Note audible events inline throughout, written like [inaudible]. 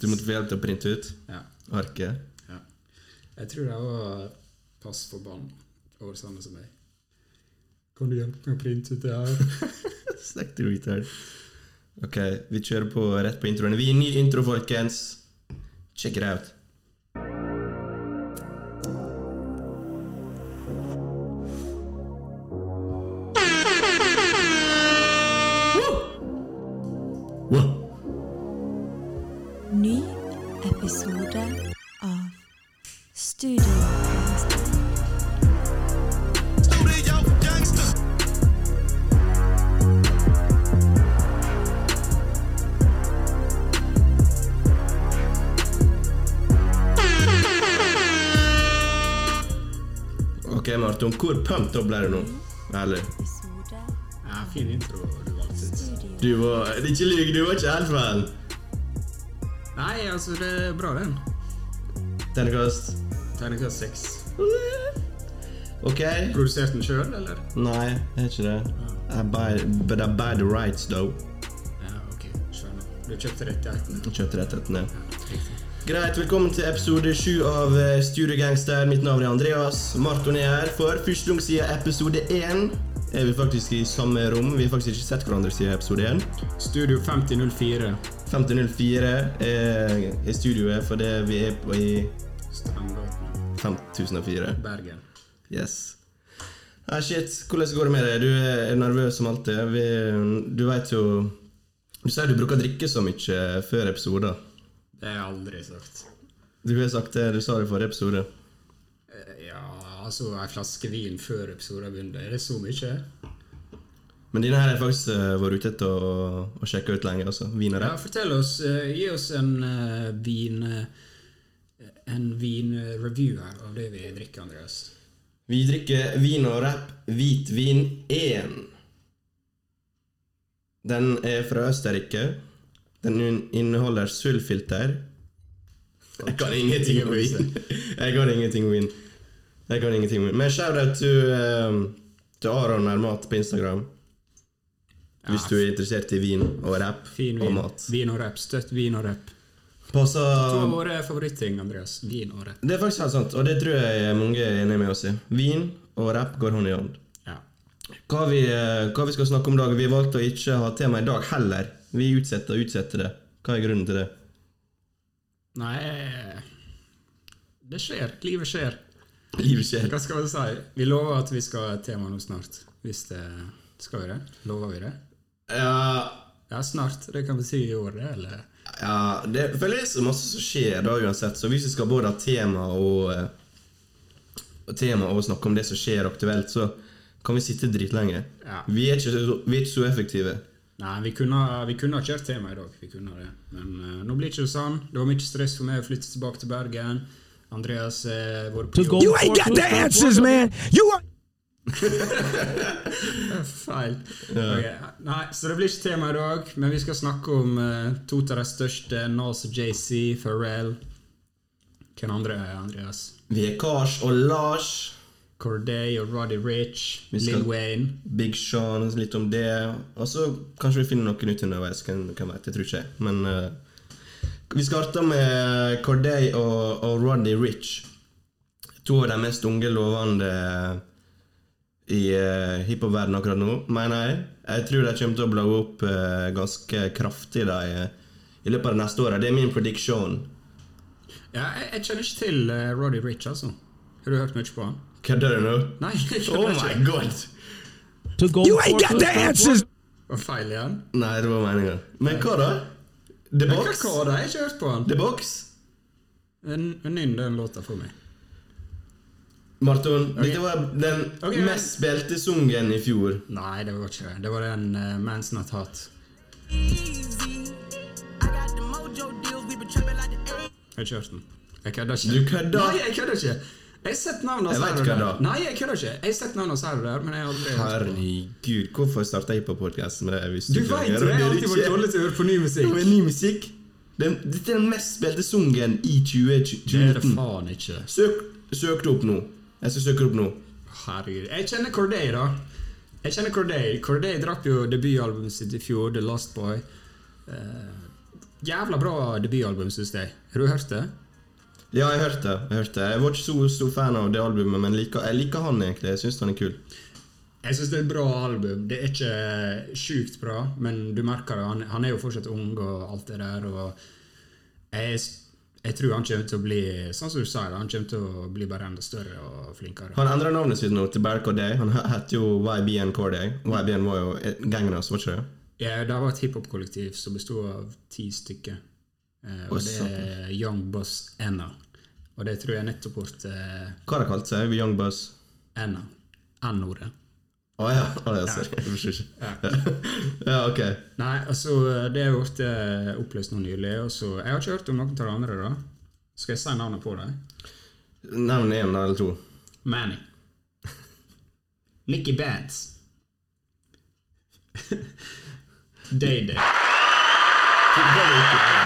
Du måtte få hjelp til å printe ut Ja. arket? [laughs] Ja. Jeg tror det var pass for barn over sånne som meg. Kan du hjelpe meg å printe ut det her? Snakk til retard. Ok, vi kjører på rett på introen. Vi er ny intro, folkens. Check it out. Wow. Ny episode av Studio Ok, Marton, hvor pumped opp ble du nå? Ærlig. episode [laughs] Ja, fin intro du valgte. synes jeg. Studio Du var det er Ikke lyv, du var ikke helt fan. Nei, altså, det er bra, den. Ternekast. Terningkast seks. Ok. Produsert den sjøl, eller? Nei, det er ikke det. I buy, but I buy the rights, though. Ja, ok. Skjønner. Du kjøpte rettighetene. Kjøttrettetene. Ja, riktig. Greit, velkommen til episode 7 av eh, Studio Gangster. Mitt navn er Andreas. Marton er her. For første gang siden episode 1 er vi faktisk i samme rom. Vi har faktisk ikke sett hverandre siden episode 1. Studio 5004. 1504 er, er studioet fordi vi er på i Strandgaten. 5004. Bergen. Yes. Ah, shit, hvordan går det med deg? Du er nervøs som alltid. Vi, du vet jo Du sier du bruker å drikke så mye eh, før episoder. Det har jeg aldri sagt. Du har sagt det du sa det i forrige episode. Eh, Ja, altså, ei flaske vin før episoden begynner, er det så mye? Men denne her har jeg faktisk eh, vært ute etter å, å sjekke ut lenge. altså. Vinere. Ja, fortell oss. eh, gi oss en eh, vin... eh, en vinreview her av det vi drikker, Andreas. Vi drikker vin og rapp hvitvin 1. Den er fra Østerrike. Den in- inneholder sølvfilter. Jeg kan ingenting om vin. Jeg kan ingenting om vin. Jeg kan ingenting om vin. Men shout-out til, eh, til Aron Ermat på Instagram. Hvis du er interessert i vin og rapp Fin og vin. mat. Um, Vin og rap. Støtt vin og rap. Hva Passer er våre favorittting, Andreas? Vin og rap. Det er faktisk helt sant, og det tror jeg mange er enige med oss i. Vin og rapp går hånd i hånd. Ja. Hva vi, eh, hva vi skal snakke om i dag? Vi valgte å ikke ha tema i dag heller. Vi utsetter og utsetter det. Hva er grunnen til det? Nei eh, Det skjer. Livet skjer. Livet skjer. Hva skal vi si? Vi lover at vi skal ha et tema nå snart. Hvis det Skal vi det? Lover vi det? Ja, Ja, snart. Det kan bety i år, det, eller? ja det jeg føler det er så masse som skjer da uansett, så hvis vi skal både ha tema og, eh, og tema og snakke om det som skjer aktuelt, så kan vi sitte dritlenge. Ja. Vi, er ikke så- vi er ikke så effektive. Nei, vi kunne, vi kunne ha kjørt tema i dag. Vi kunne ha det. Men eh, nå blir det ikke det sånn. Det var mye stress for meg å flytte tilbake til Bergen. Andreas uh, var på jobb. You ain't got the answers, man. You are. Feil. Ok, Nei, så det blir ikke tema i dag, men vi skal snakke om eh, to av de største, Nas og JC, Pharrell Hvem andre er Andreas? Vi er Kars og Lars. Corday og Roddy Rich, Vi skal- Lil Wayne Big Sean, litt om det. Og så kanskje vi finner noen ut underveis. Kan, kan vet, jeg tror ikke. jeg. Men eh, vi starter med Corday og, og Roddy Rich. To av de mest unge lovende i uh, hiphop-verdenen akkurat nå, mener jeg. Jeg tror de kommer til å blowe opp eh, ganske kraftig de, eh, i løpet av det neste året. Det er min prediction. Ja, jeg, jeg kjenner ikke til eh, Roddy Rich, altså. Har du hørt mye på han? Kødder du nå? Nei, [laughs] jeg Oh kjenner my ikke. god! To go you ain't got the answers. Var feil igjen? Nei, det var meninga. Men hva da? The Hva Box? hva da? Jeg har ikke hørt på han. The Box? Nynn den låta for meg. Marton, dette var den Ok. mest spilte sungen i fjor. Nei, det var ikke det. Det var den eh, Man's Not Hot. Easy. I got the mojo deals, we been trapping like the Jeg A. har ikke hørt den. Jeg kødder ikke. Du kødder? Nei, jeg kødder ikke. Jeg har sett navnet hans Jeg her vet og hva der. da. Nei, jeg kødder ikke. Jeg har sett navnet hans her og der, men jeg har aldri hørt det. Herregud, hvorfor starta jeg på podkasten med det? Hvis Du vet jo, jeg har alltid vært dårlig til å høre på ny musikk. med ny musikk. Den, dette er den mest spilte sungen i Det er det 2019. faen ikke. Søk, søk det opp nå. Jeg skal søke det opp nå. Herregud. Jeg kjenner Corday, da. Jeg kjenner Corday. Corday drapp jo debutalbumet sitt i fjor, The Last Boy. Eh, Jævla bra debutalbum, syns jeg. Har du hørt det? Ja, jeg hørte det. Jeg hørte det. Jeg var ikke så stor fan av det albumet, men liker, jeg liker han egentlig. Jeg syns han er kul. Jeg syns det er et bra album. Det er ikke sjukt bra, men du merker det. Han, han er jo fortsatt ung og alt det der, og jeg, s- jeg tror han kommer til å bli Sånn som du sa, han kommer til å bli bare enda større og flinkere. Han endra navnet sitt nå til Bare Corday. Han he- het jo YBN Corday. YBN var jo eh, gangen hans, var ikke det? Ja, det var et hiphop-kollektiv som bestod av ti stykker. Eh, Oi, og det er Young Boss Anna. Og det tror jeg nettopp ble eh, Hva har de kalt seg? Young Buzz? Anna. N-ordet. Å ja. Å, ja, sorry. Jeg forstår ikke. [laughs] Ja, ok. Nei, altså, det ble eh, oppløst nå nylig. Og så, jeg har ikke hørt om noen av de andre, da. Skal jeg si navnet på dem? Nevn én eller to. Manny. [laughs] Nikki Bands. [laughs] Day-Day.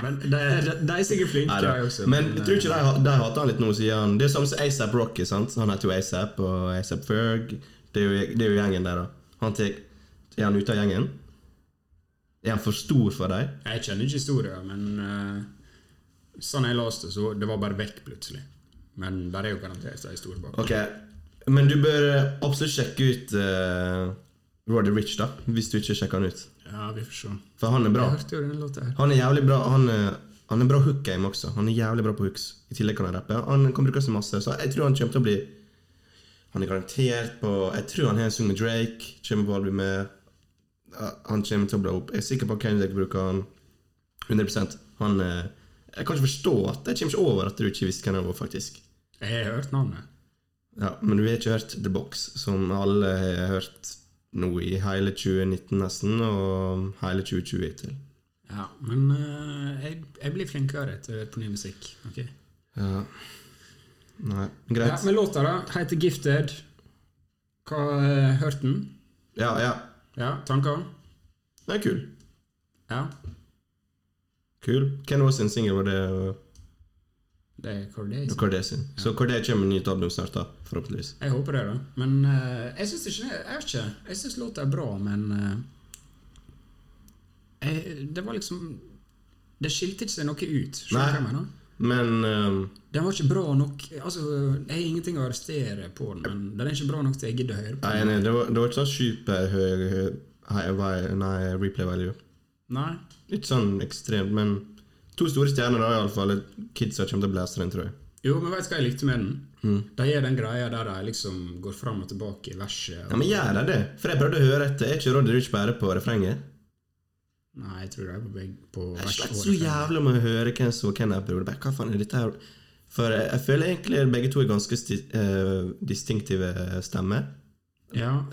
Men de, de, de er sikkert flinke, Nei de da. også. Men eh, jeg tror ikke de, ha- de hater han litt nå, siden han Det er samme som ASAP Rocky. sant? Han heter jo ASAP og ASAP Ferg. Det er, jo, det er jo gjengen der, da. Han tek, er han ute av gjengen? Er han for stor for dem? Jeg kjenner ikke historien, men eh, sånn jeg leste det, så det var bare vekk plutselig. Men der er jo garantert en historie bak. Ok, men du bør eh, absolutt sjekke ut uh, Roddy Rich, da. Hvis du ikke sjekker han ut. Ja, vi får se. For han er bra. Jeg hørte jo den låta her. Han er jævlig bra Han er, han er bra hook-game også. Han er jævlig bra på hooks. I tillegg kan han rappe. Han kan bruke seg masse, så jeg tror han kommer til å bli Han er garantert på Jeg tror han har en sang med Drake. Kommer på albumet. Ja, Han kommer til å bli opp. Jeg er sikker på at Kendrick bruker han 100 Han eh, Jeg kan ikke forstå at Jeg kommer ikke over at du ikke visste hvem han var, faktisk. Jeg har hørt navnet. Ja, Men vi har ikke hørt The Box, som alle har hørt nå i hele 2019 nesten, og hele 2020 til. Ja, men eh, jeg, jeg blir flinkere til på ny musikk. ok? Ja. Nei, Ja, greit. men låta, da, heter Gifted. Hva eh, Hørte den? Ja, ja. Ja, tanker? Det er kul. Ja, Kul. Ken var sin singel, var det uh, det er Cordays. Corday sin. Så Corday kommer med nytt album snart, da. Forhåpentligvis. Jeg håper det, da. Men eh, jeg syns ikke Jeg vet ikke. Jeg syns låta er bra, men eh, jeg, Det var liksom Det skilte ikke seg noe ut. Skjønner du hva jeg Nei. mener? Men um, Den var ikke bra nok Altså, Jeg har ingenting å arrestere på den, men den er ikke bra nok til jeg gidder å høre på. Nei, nei, det var, det var ikke sånn superhøy high vi- Nei, replay value. Nei. Ikke sånn ekstremt, men to store stjerner da, iallfall. Kidsa kommer til å blæse den, tror jeg. Jo, men veit du hva jeg likte med den? Mm. De gjør den greia der de liksom går fram og tilbake i verset. Ja, Og, Men gjør de det? For jeg prøvde å høre etter. Er ikke Roddy Rich bare på refrenget? nei, jeg tror de er på begge på Jeg vers slett og så refreng. jævlig med å høre hvem som hvem er bror. Hva faen er dette her? For jeg, jeg føler egentlig begge to er ganske sti, eh, distinktive stemmer. Ja,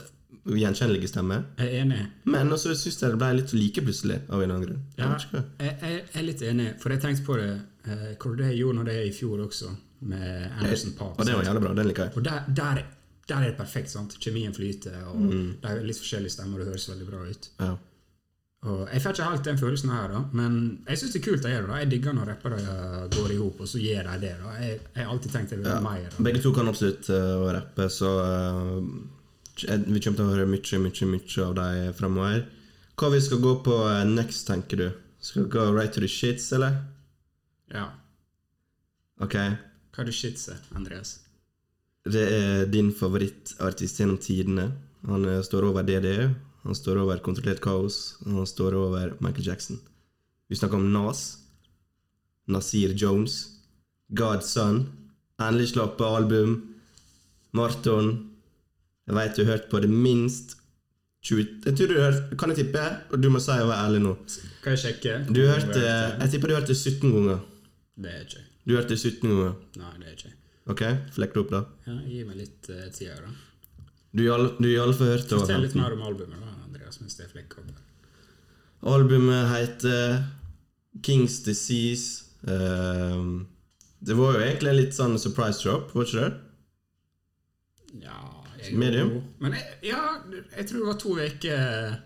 Gjenkjennelige stemmer. jeg er enig. Men også syns jeg det ble litt like plutselig, av en eller annen grunn. Jeg Ja, vet ikke hva. jeg, jeg jeg er litt enig, for jeg tenkte på det eh, Corday gjorde nå det i fjor også, med Anderson Park. Og det var sant? jævlig bra. Den liker jeg. og der, der, er- der er det perfekt. sant? Kjemien flyter, og Mm. det er litt forskjellige stemmer, og det høres veldig bra ut. Ja. Og Jeg får ikke helt den følelsen her, da, men jeg syns det er kult de gjør det. da. Jeg digger når rappere eh, går i hop, og så gjør de det. da. Jeg jeg har alltid tenkt jeg vil ha mer. da. Begge to kan absolutt eh, å rappe, så eh, jeg- vi kommer til å høre mye, mye, mye av dem framover. Hva vi skal gå på eh, next, tenker du? Skal vi gå right to the shits, eller? Ja. Ok. Hva er det shitset, Andreas? Det er din favorittartist gjennom tidene. Han eh, står over DDE, han står over Kontrollert kaos, og han står over Michael Jackson. Vi snakker om Nas, Nasir Jones, Godson, Endelig slappe album, Marton Jeg veit du har hørt på det minst 20 Jeg tror du har hørt Kan jeg tippe? Og du må si og være ærlig nå. Kan jeg sjekke? Du hørte eh, Jeg tipper du hørte 17 ganger. Det er ikke jeg. Du hørte 17 ganger. Nei, det er ikke jeg. Ok? Flekk det opp, da. Ja, gi meg litt uh, tid her, da. Du i alle- du i alle fall hørte over Fortell litt 15. mer om albumet, da, Andreas, mens jeg flekker opp. Albumet heter King's Disease. Ehm, det var jo egentlig en litt sånn surprise drop, var ikke det? Ja, jeg, Medium? Men jeg, ja, jeg tror det var to uker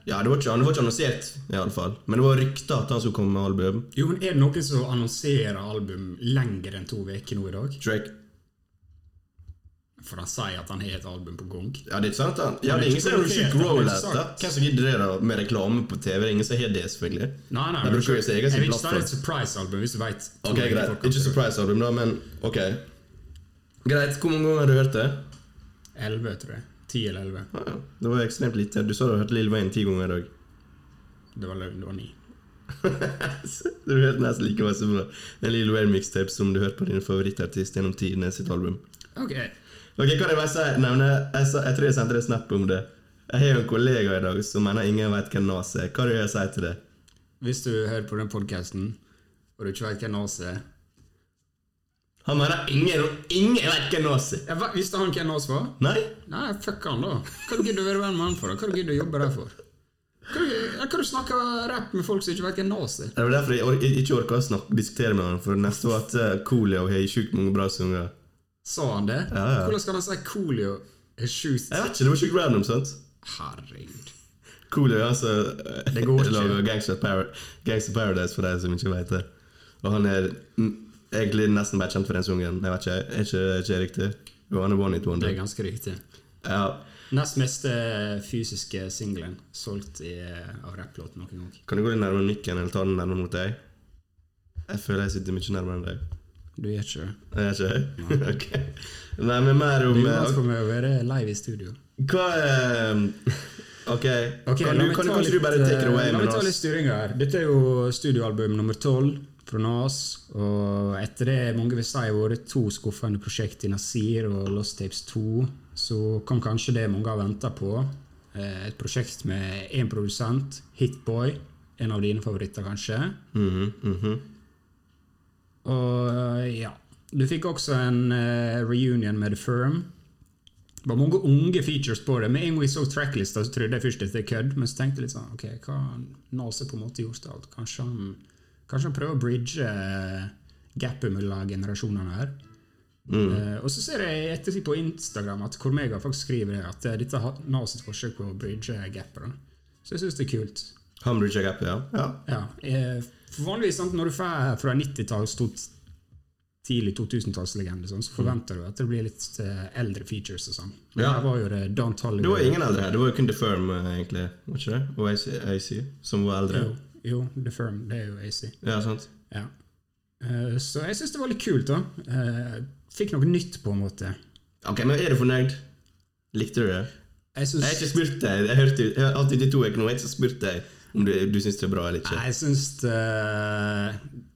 Ja, det var ikke, han var ikke annonsert, i alle fall. Men det var rykter at han skulle komme med album. Jo, men er det noen som annonserer album lenger enn to uker nå i dag? Drake. For han sier at han har et album på gang. Ja, det er ikke sant, da. Ja, Men det er det er ingen som ikke bruker konkret, det er Growlat. ikke da. sagt. Hvem som gidder det, da? Med reklame på TV? Det er ingen som har det, selvfølgelig. Nei, nei, De men bruker jo sin egen jeg sin vil ikke starte plattform. et surprise-album hvis du vet Ok, greit. Ikke surprise-album, da, men ok. Greit. Hvor mange ganger har du hørt det? 11, tror jeg. 10 eller 11. Ah, ja. Det var ekstremt lite. Du sa du hadde hørt Lill Wayne ti ganger i dag. Det var løgn, det var 9. [laughs] Du hørte nesten like mye som en Lill Wayne mixtape som du hørte på din favorittartist gjennom tidene sitt album. Ok, Ok, Kan jeg bare si, nevne Jeg, sa, jeg tror jeg sendte deg snap om det. Jeg har jo en kollega i dag som mener ingen vet hvem Nas er. Hva har du å si til det? Hvis du hører på den podcasten, og du ikke vet hvem Nas er Han mener ingen, ingen vet hvem Nas er! Jeg vet- Visste han hvem Nas var? Nei? Nei, fuck han, da. Hva du gidder å være venn med han for? da? Hva du gidder å jobbe der for? Hva du- Hva du snakker rap med folk som ikke vet hvem Nas er? Det var derfor jeg or jeg ikke orka å snakke, diskutere med han, for neste var at eh, Coolio har sjukt mange bra sanger. Sa han det? Ja, ja. Hvordan skal han si Coolio er sjukt Jeg vet ikke, det var sjukt random, sant? Herregud. Coolio er altså eh, [laughs] Det går ikke. lager Gangster, Par Gangster Paradise for de som ikke vet det. Og han er mm, egentlig nesten bare kjent for den sangen. Jeg vet ikke, er ikke, er ikke det riktig? Jo, han er One It Det Wonder. er ganske riktig. Ja. Nest meste fysiske singelen solgt i, av rapplåt noen gang. Kan du gå litt nærmere mikken, eller ta den nærmere mot deg? Jeg føler jeg sitter mye nærmere enn deg. Du gjør ikke Er det? jeg ikke? [laughs] ok. Nei, men mer om Du må eh, få meg å være live i studio. Hva ehm, Ok, Ok, kan, la du, meg kan, ta kan ikke du bare take it eh, away La med meg ta litt oss? styringa her. Dette er jo studioalbum nummer tolv fra Nas. Og etter det mange vil si har vært to skuffende prosjekt i Nasir og Lost Tapes 2, så kom kanskje det mange har venta på. eh, Et prosjekt med én produsent, Hitboy, en av dine favoritter kanskje. Mhm, Og eh, ja. Du fikk også en eh, reunion med The Firm. Det var mange unge features på det. Med en gang jeg så tracklista, så trodde jeg først at det er kødd, men så tenkte jeg litt sånn Ok, hva har Nas på en måte gjort alt? Kanskje han, kanskje han prøver å bridge eh, gapet mellom generasjonene her? Eh, og så ser jeg i ettertid på Instagram at Cormega faktisk skriver det, at eh, dette er Nas sitt forsøk på å bridge gapet. Da. Så jeg syns det er kult. Humbridge Gap, ja. ja. Ja, eh, for vanligvis sant, når du får fra 90-talls til tidlig 2000-tallslegende, sånn, så forventer du at det blir litt eh, eldre features og sånn. Men Mm. Ja. her var jo det Don Tolliver. Det var ingen eldre her. Det var jo kun The Firm, eh, egentlig. Var ikke det? Og AC, som var eldre. Jo, jo, The Firm, det er jo AC. Ja, sant? Ja. Eh, så jeg syns det var litt kult, da. Eh, fikk noe nytt, på en måte. Ok, men er du fornøyd? Likte du det? Jeg Jeg syns har ikke spurt deg. Jeg hørte jo- jeg har alltid de to uker nå. Jeg har ikke spurt deg om du, du syns det er bra eller ikke. jeg syns det,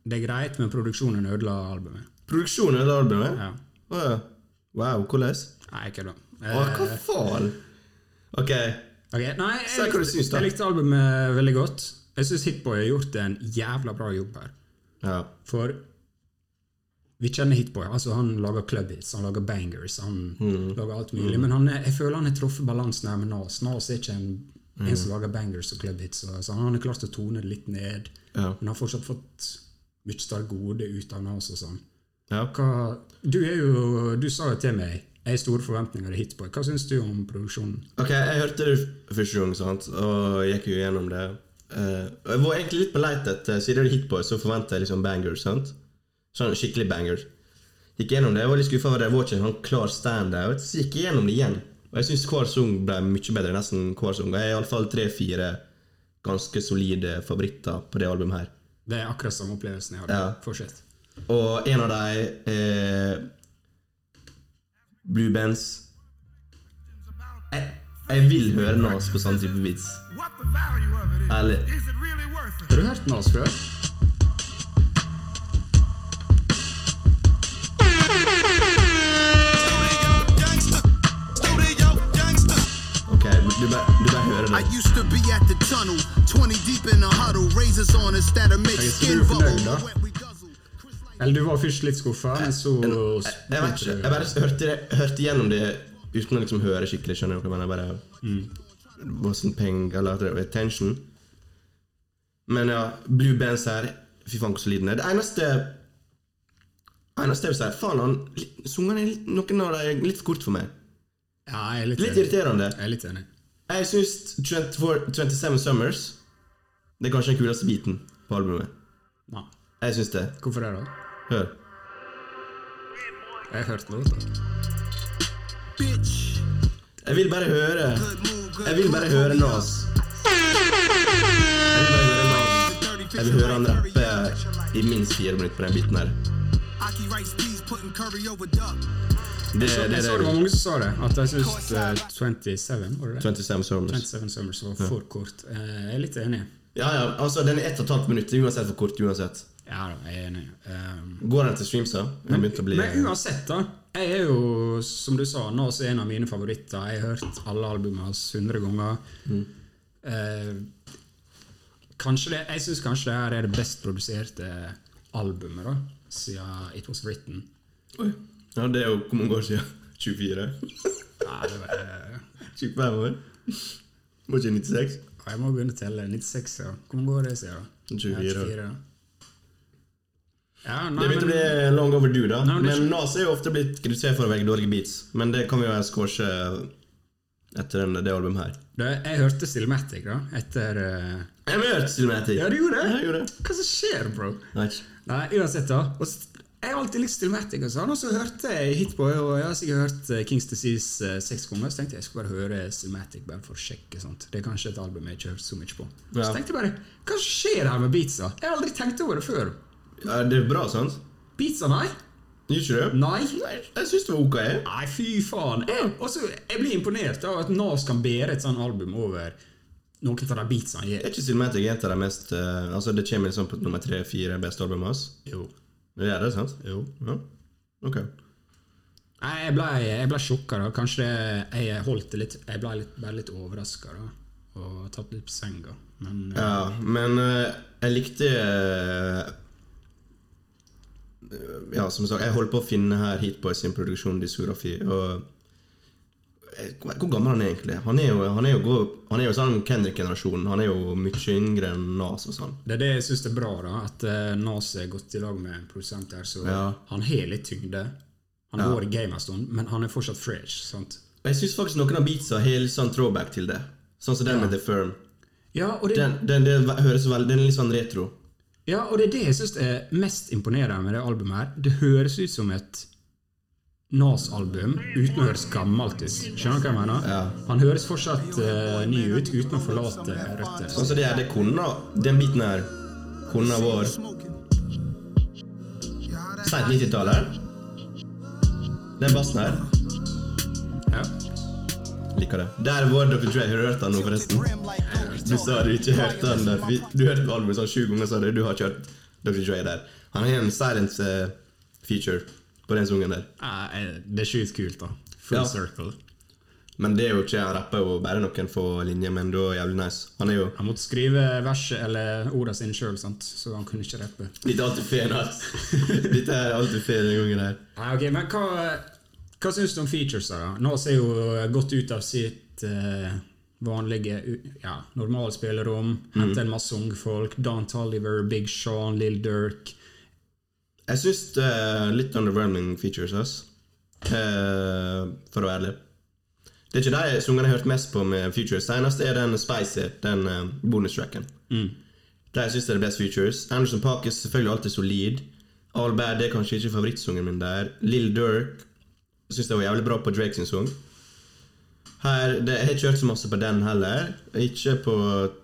det er greit, men produksjonen ødela albumet. Produksjonen av albumet? Ja. Å, ja. Wow, hvordan? Nei, ikke da. Å, hva Eh. faen? Ok. Ok, nei, Si hva jeg du syns, likte, da. jeg likte albumet veldig godt. Jeg syns Hitboy har gjort en jævla bra jobb her. Ja. For vi kjenner Hitboy. altså Han lager clubhits, han lager bangers, han Mm. lager alt mulig. Men han er, jeg føler han har truffet balansen her med Nas. Nas er ikke en, Mm. en som lager bangers og clubhits. og- Så han har klart å tone det litt ned. Ja. Men har fortsatt fått mye større gode ut av Nas og sånn. ja. Hva, du, er jo, du sa jo til meg jeg har store forventninger til Hitboy. Hva syns du om produksjonen? Ok, jeg hørte det f- første gang, sant? og gikk jo gjennom det. Eh, og jeg var egentlig litt på leit etter, siden det er hitboy, så forventer jeg liksom bangers, sant? Sånn skikkelig bangers. Gikk gjennom det, jeg var litt skuffet over det, jeg var ikke en sånn klar standout, så gikk jeg gjennom det igjen. Og jeg synes hver sang ble mye bedre, nesten hver sang. Jeg har i alle fall tre-fire ganske solide favoritter på det albumet her. Det er akkurat samme opplevelsen jeg hadde. Ja. Fortsett. Og en av dem er Blue Bands. Jeg, jeg vil høre Nas på sånn type vits. What the value of it is? Ærlig. Is it really worth it? Har du hørt Nas før? Ok, du bare, du bare hører I det. used to be at the tunnel, 20 deep in a huddle, razors on us that'll make guess skin we're bubble. familiar, huh? Wet we guzzle. Chris Light- Eller du var først litt skuffa, men så Jeg, jeg vet ikke, jeg bare hørte, det- hørte gjennom det uten å liksom høre skikkelig, skjønner du hva jeg mener? Jeg Bare sånn wasn't paying a lot of attention. Men ja, Blue Bands her, fy faen hvor solid den er. Det eneste eneste jeg vil si, faen han, li- sangene er litt- noen av dem er litt for kort for meg. Ja, jeg er litt, Litt enig. irriterende. Jeg er litt enig. Jeg syns 24 27 Summers det er kanskje den kuleste biten på albumet. Nei. Jeg syns det. Hvorfor det, da? Hør. Jeg har hørt låta. bitch. Jeg vil bare høre. Good move, good Jeg vil bare move, høre Kobe. Nas. Jeg vil bare høre Nas. Jeg vil høre han rappe i minst fire minutter på den biten her. Aki Rice P's putting curry over duck. Det, det, Jeg det, så det var mange som sa det, at de syns eh, 27 var det det? 27 Summers. 27 Summers var for kort. Eh, jeg er litt enig. Ja, ja, altså den er ett og et halvt minutt, uansett hvor kort, uansett. Ja da, jeg er enig. Um, Går den til streams, da? Den begynte å bli Men uansett, da. Jeg er jo, som du sa, Nas er en av mine favoritter. Jeg har hørt alle albumene hans 100 ganger. Mm. Eh, kanskje det, jeg syns kanskje det her er det best produserte albumet da, siden It Was Written. Oi. Ja, det er jo hvor mange år siden? [laughs] 24? Nei, det var, eh, 25 år? Var ikke 96? jeg må begynne å telle. 96, ja. Hvor mange år er det siden? da? 24 Ja, år. 24, ja. Ja, nei, Det begynte å men, bli long overdue, da. Nei, men det er men ikke- Nas er jo ofte blitt kritisert for å velge dårlige beats. Men det kan vi jo squashe etter den, det albumet her. du, jeg hørte Stillmatic da, etter eh, Jeg har hørt Cinematic. Ja, du gjorde det? Jeg gjorde det. Hva som skjer, bro? Nei, ikke. Nei, uansett da og s- Jeg har alltid likt Stillmatic altså. Han også hørte jeg Hitboy Og jeg har sikkert hørt eh, Kings Disease eh, seks ganger Så tenkte jeg jeg skulle bare høre Stillmatic Bare for å sjekke sånt Det er kanskje et album jeg ikke har hørt så mye på Så Ja. tenkte jeg bare Hva skjer her med beatsa? Jeg har aldri tenkt over det før Ja, det er bra, sant? Beatsa, nei? Gjør ikke det? Nei? Nei, jeg syns det var ok. jeg. Nei, fy faen jeg, også, jeg blir imponert av at Nas kan bære et sånt album over Noen av de beatsa han Er gir ikke Cinematic et av de mest eh, Altså, det kommer liksom på nummer tre-fire beste albumet hans? Jo, Det er det, sant? jo Ja. Ok. Nei, jeg ble, jeg ble sjokka. da. Kanskje det, jeg holdt det litt Jeg ble litt, bare litt overraska og tatt litt på senga. Men eh, Ja, men eh, jeg likte eh, Ja, som sagt, jeg holdt på å finne her Hitboy sin produksjon, diskografi, og jeg- hvor hvor gammel han er egentlig? Han er jo, han er jo, god, han er jo sånn Kendrick-generasjonen. Han er jo mye yngre enn Nas og sånn. det er det jeg syns er bra, da at eh, Nas er godt i lag med en produsent der, så Ja. han har litt tyngde. Han går i gamet en stund, men han er fortsatt fresh. sant? Og jeg syns faktisk noen av beatsa har litt sånn throwback til det. Sånn som den med The Firm. Ja, og det, Den, den, det høres veldig, den er litt sånn retro. ja, og det er det jeg syns er mest imponerende med det albumet her. Det høres ut som et Nas-album uten å høres gammelt ut. Skjønner du hva jeg mener? Han høres fortsatt eh, ny ut uten å forlate røtter. Altså det, er- det kunne Den biten her kunne vært Smoking. seint 90-tallet. Den bassen her. Ja. Liker det. Der var Dr. Dre. Har du hørt han nå, forresten? Du sa du ikke hørte han der. Vi- Du hørte på albumet sånn sju ganger, sa du. Du har ikke hørt Dr. Dre der. Han har en silence eh, feature på den sungen der. Nei, Eh, det er sjukt kult, da. Full Ja. circle. Men det er jo ikke Han rapper jo bare noen få linjer, men da er jævlig nice. Han er jo Han måtte skrive verset eller ordene sine sjøl, så han kunne ikke rappe. litt alltid fen, [laughs] ass. Dette er alltid fen den gangen her. Nei, ok, Men hva, hva syns du om features? da? Nas er jo gått ut av sitt eh, vanlige u- ja, normale spillerom. Hentet en masse unge folk. Dan Tolliver, Big Sean, Lill Durk. Jeg syns det er litt underwhelming features, ass. Eh, for å være ærlig. Det er ikke de sangene jeg har hørt mest på med features. Senest er den Spicy, den eh, bonustracken. Der syns jeg det er best features. Anderson Park er selvfølgelig alltid solid. All Bad er kanskje ikke favorittsungen min der. Lill Durk syns jeg var jævlig bra på Drake sin sang. Her, det, jeg har ikke hørt så masse på den heller. Ikke på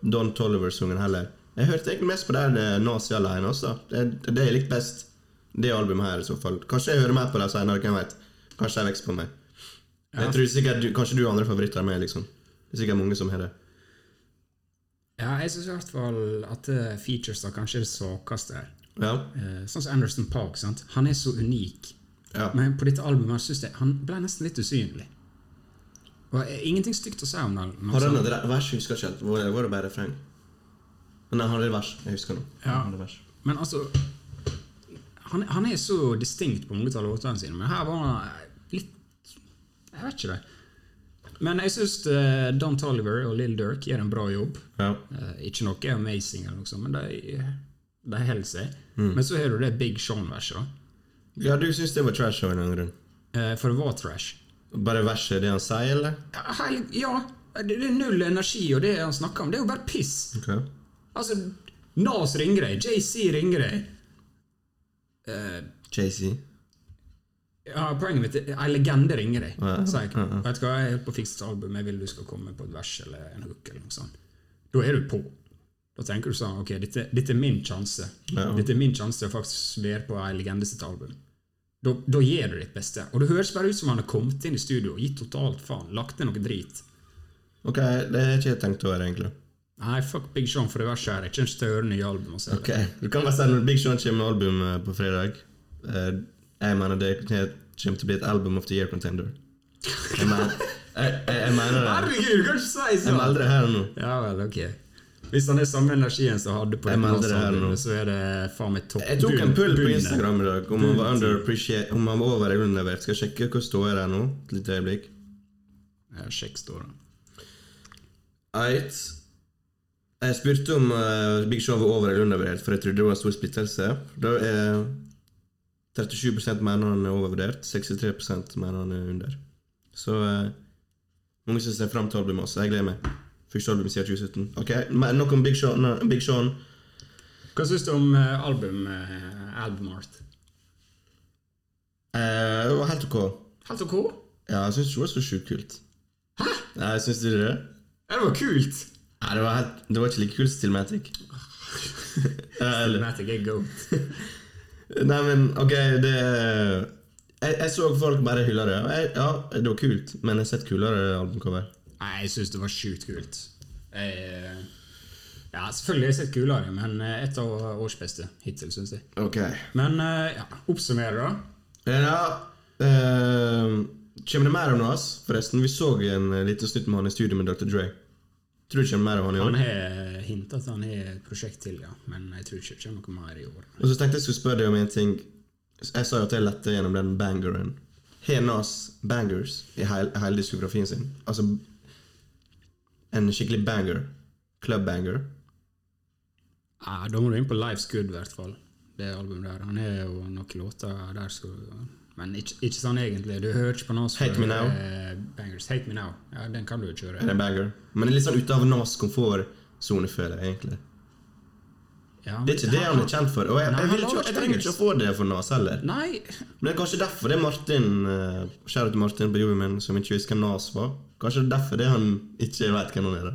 Don Tolliver-sungen heller. Jeg hørte egentlig mest på den eh, Nas i alene også. Det er det jeg likte best. Det albumet her i så fall. Kanskje jeg hører mer på det senere, hvem vet. Kanskje de vokser på meg. Jeg tror sikkert du, Kanskje du har andre favoritter enn meg, liksom. Det er sikkert mange som har det. Ja, jeg syns i hvert fall at eh, features da kanskje er det svakeste her. Ja. Eh, sånn som Anderson Park. sant? Han er så unik. Ja. Men på dette albumet her synes jeg han ble nesten litt usynlig. Og eh, Ingenting stygt å si om den. men Har sånn- han et re- vers? Jeg husker ikke helt. Var det- Var det bare refreng? Men han hadde et vers. Jeg husker nå. Ja. Han hadde et vers. Men altså han, han er så distinkt på mange av låtene sine, men her var han eh, litt Jeg vet ikke det. Men jeg syns Don Tolliver og Lill Durk gjør en bra jobb. Ja. Eh, ikke noe amazing, eller noe sånt, men de, de holder seg. Mm. Men så har du det Big Sean-verset. da. ja, du syns det var trash av en eller annen grunn? Eh, for det var trash. Bare verset, det han sier, eller? Ja, hel, ja det, det er null energi, og det han snakker om, det er jo bare piss. Ok. Altså, Nas ringer deg, JC ringer deg. JC. Ja, Poenget mitt er ei legende ringer deg. sier jeg. Vet du hva, jeg holder på å fikse et album, jeg vil du skal komme på et vers eller en hook. eller noe sånt. Da er du på. Da tenker du sånn Ok, dette, dette er min sjanse. Dette er min sjanse til å faktisk være på ei legende sitt album. Da, da gjør du ditt beste. Og det høres bare ut som han har kommet inn i studio og gitt totalt faen. Lagt ned noe drit. Ok, det har ikke jeg tenkt over, egentlig. Nei, fuck Big Sean for det verset her. Jeg kommer ikke til å høre nye altså. album. Og så Ok, Du kan bare si når Big Sean kommer med album eh, på fredag eh, Jeg mener det kommer til å bli et album of the year contender. Jeg mener, jeg, jeg, jeg mener det. Herregud, du kan ikke si Jeg melder det her nå. Ja vel, ok. Hvis han er samme energien som han hadde på Jeg melder det her Rock'n'Roll-albumet, nå. så er det faen meg topp. Jeg tok en pull på bunn. Instagram i dag om han var underappreciate- om han var over eller undervurdert. Skal jeg sjekke hvor står jeg nå. Et lite øyeblikk. Ja, sjekk står Eit. Jeg spurte om eh, Big Show var over eller undervurdert, for jeg trodde det var en stor splittelse. Da er 37 mener han er overvurdert, 63 mener han er under. Så eh, mange som ser fram til albumet også. Jeg gleder meg. Første album siden 2017. Ok, men Nok om Big Sean. Nei, Big Sean. Hva syns du om eh, album, eh, albumart? Eh, det var helt ok. Helt ok. Ja, jeg syns ikke det var så sjukt kult. Hæ? Nei, syns du det? Ja, Det var kult! Nei, det var, helt, det var ikke like kult som Stillmatic. Eh, eller- Matic er goat. Nei, men ok, det Jeg, jeg så folk bare hylle det. og Jeg, ja, det var kult, men jeg har sett kulere albumcover. Nei, jeg syns det var sjukt kult. Jeg, eh, ja, selvfølgelig har jeg sett kulere, men eh, et av årsbeste hittil, syns jeg. Ok. Men eh, ja, oppsummerer, da. Ja, eh, Kommer det mer om oss? Forresten, vi så en eh, liten snutt med han i studio med Dr. Dre. Tror du det kommer mer om han i Han år? har hintet at han har et prosjekt til, ja. Men jeg tror ikke det kommer noe mer i år. Og så tenkte jeg skulle spørre deg om en ting. Jeg sa jo at jeg lette gjennom den bangeren. Har Nas bangers i heil- hele diskografien sin? Altså en skikkelig banger. Club-banger. Ja, da må du inn på Life's Good, i hvert fall. Det albumet der. Han er jo noen låter der så Men ikke, ikke sånn egentlig. Du hører ikke på Nas Hate før, Me Now. eh, Bangers. Hate Me Now. Ja, den kan du jo Det kjøre. er en banger. Men det er litt sånn ute av Nas komfortsone, føler jeg egentlig. Ja, Det er ikke det han er kjent for. Og jeg, Nei, jeg, vil han ikke, har jeg ikke trenger ikke å få det for Nas heller. Nei! Men det er kanskje derfor det er Martin uh, Kjære til Martin på jobben min som ikke visste hvem Nas var. Kanskje det er derfor det er han ikke vet hvem han er. da.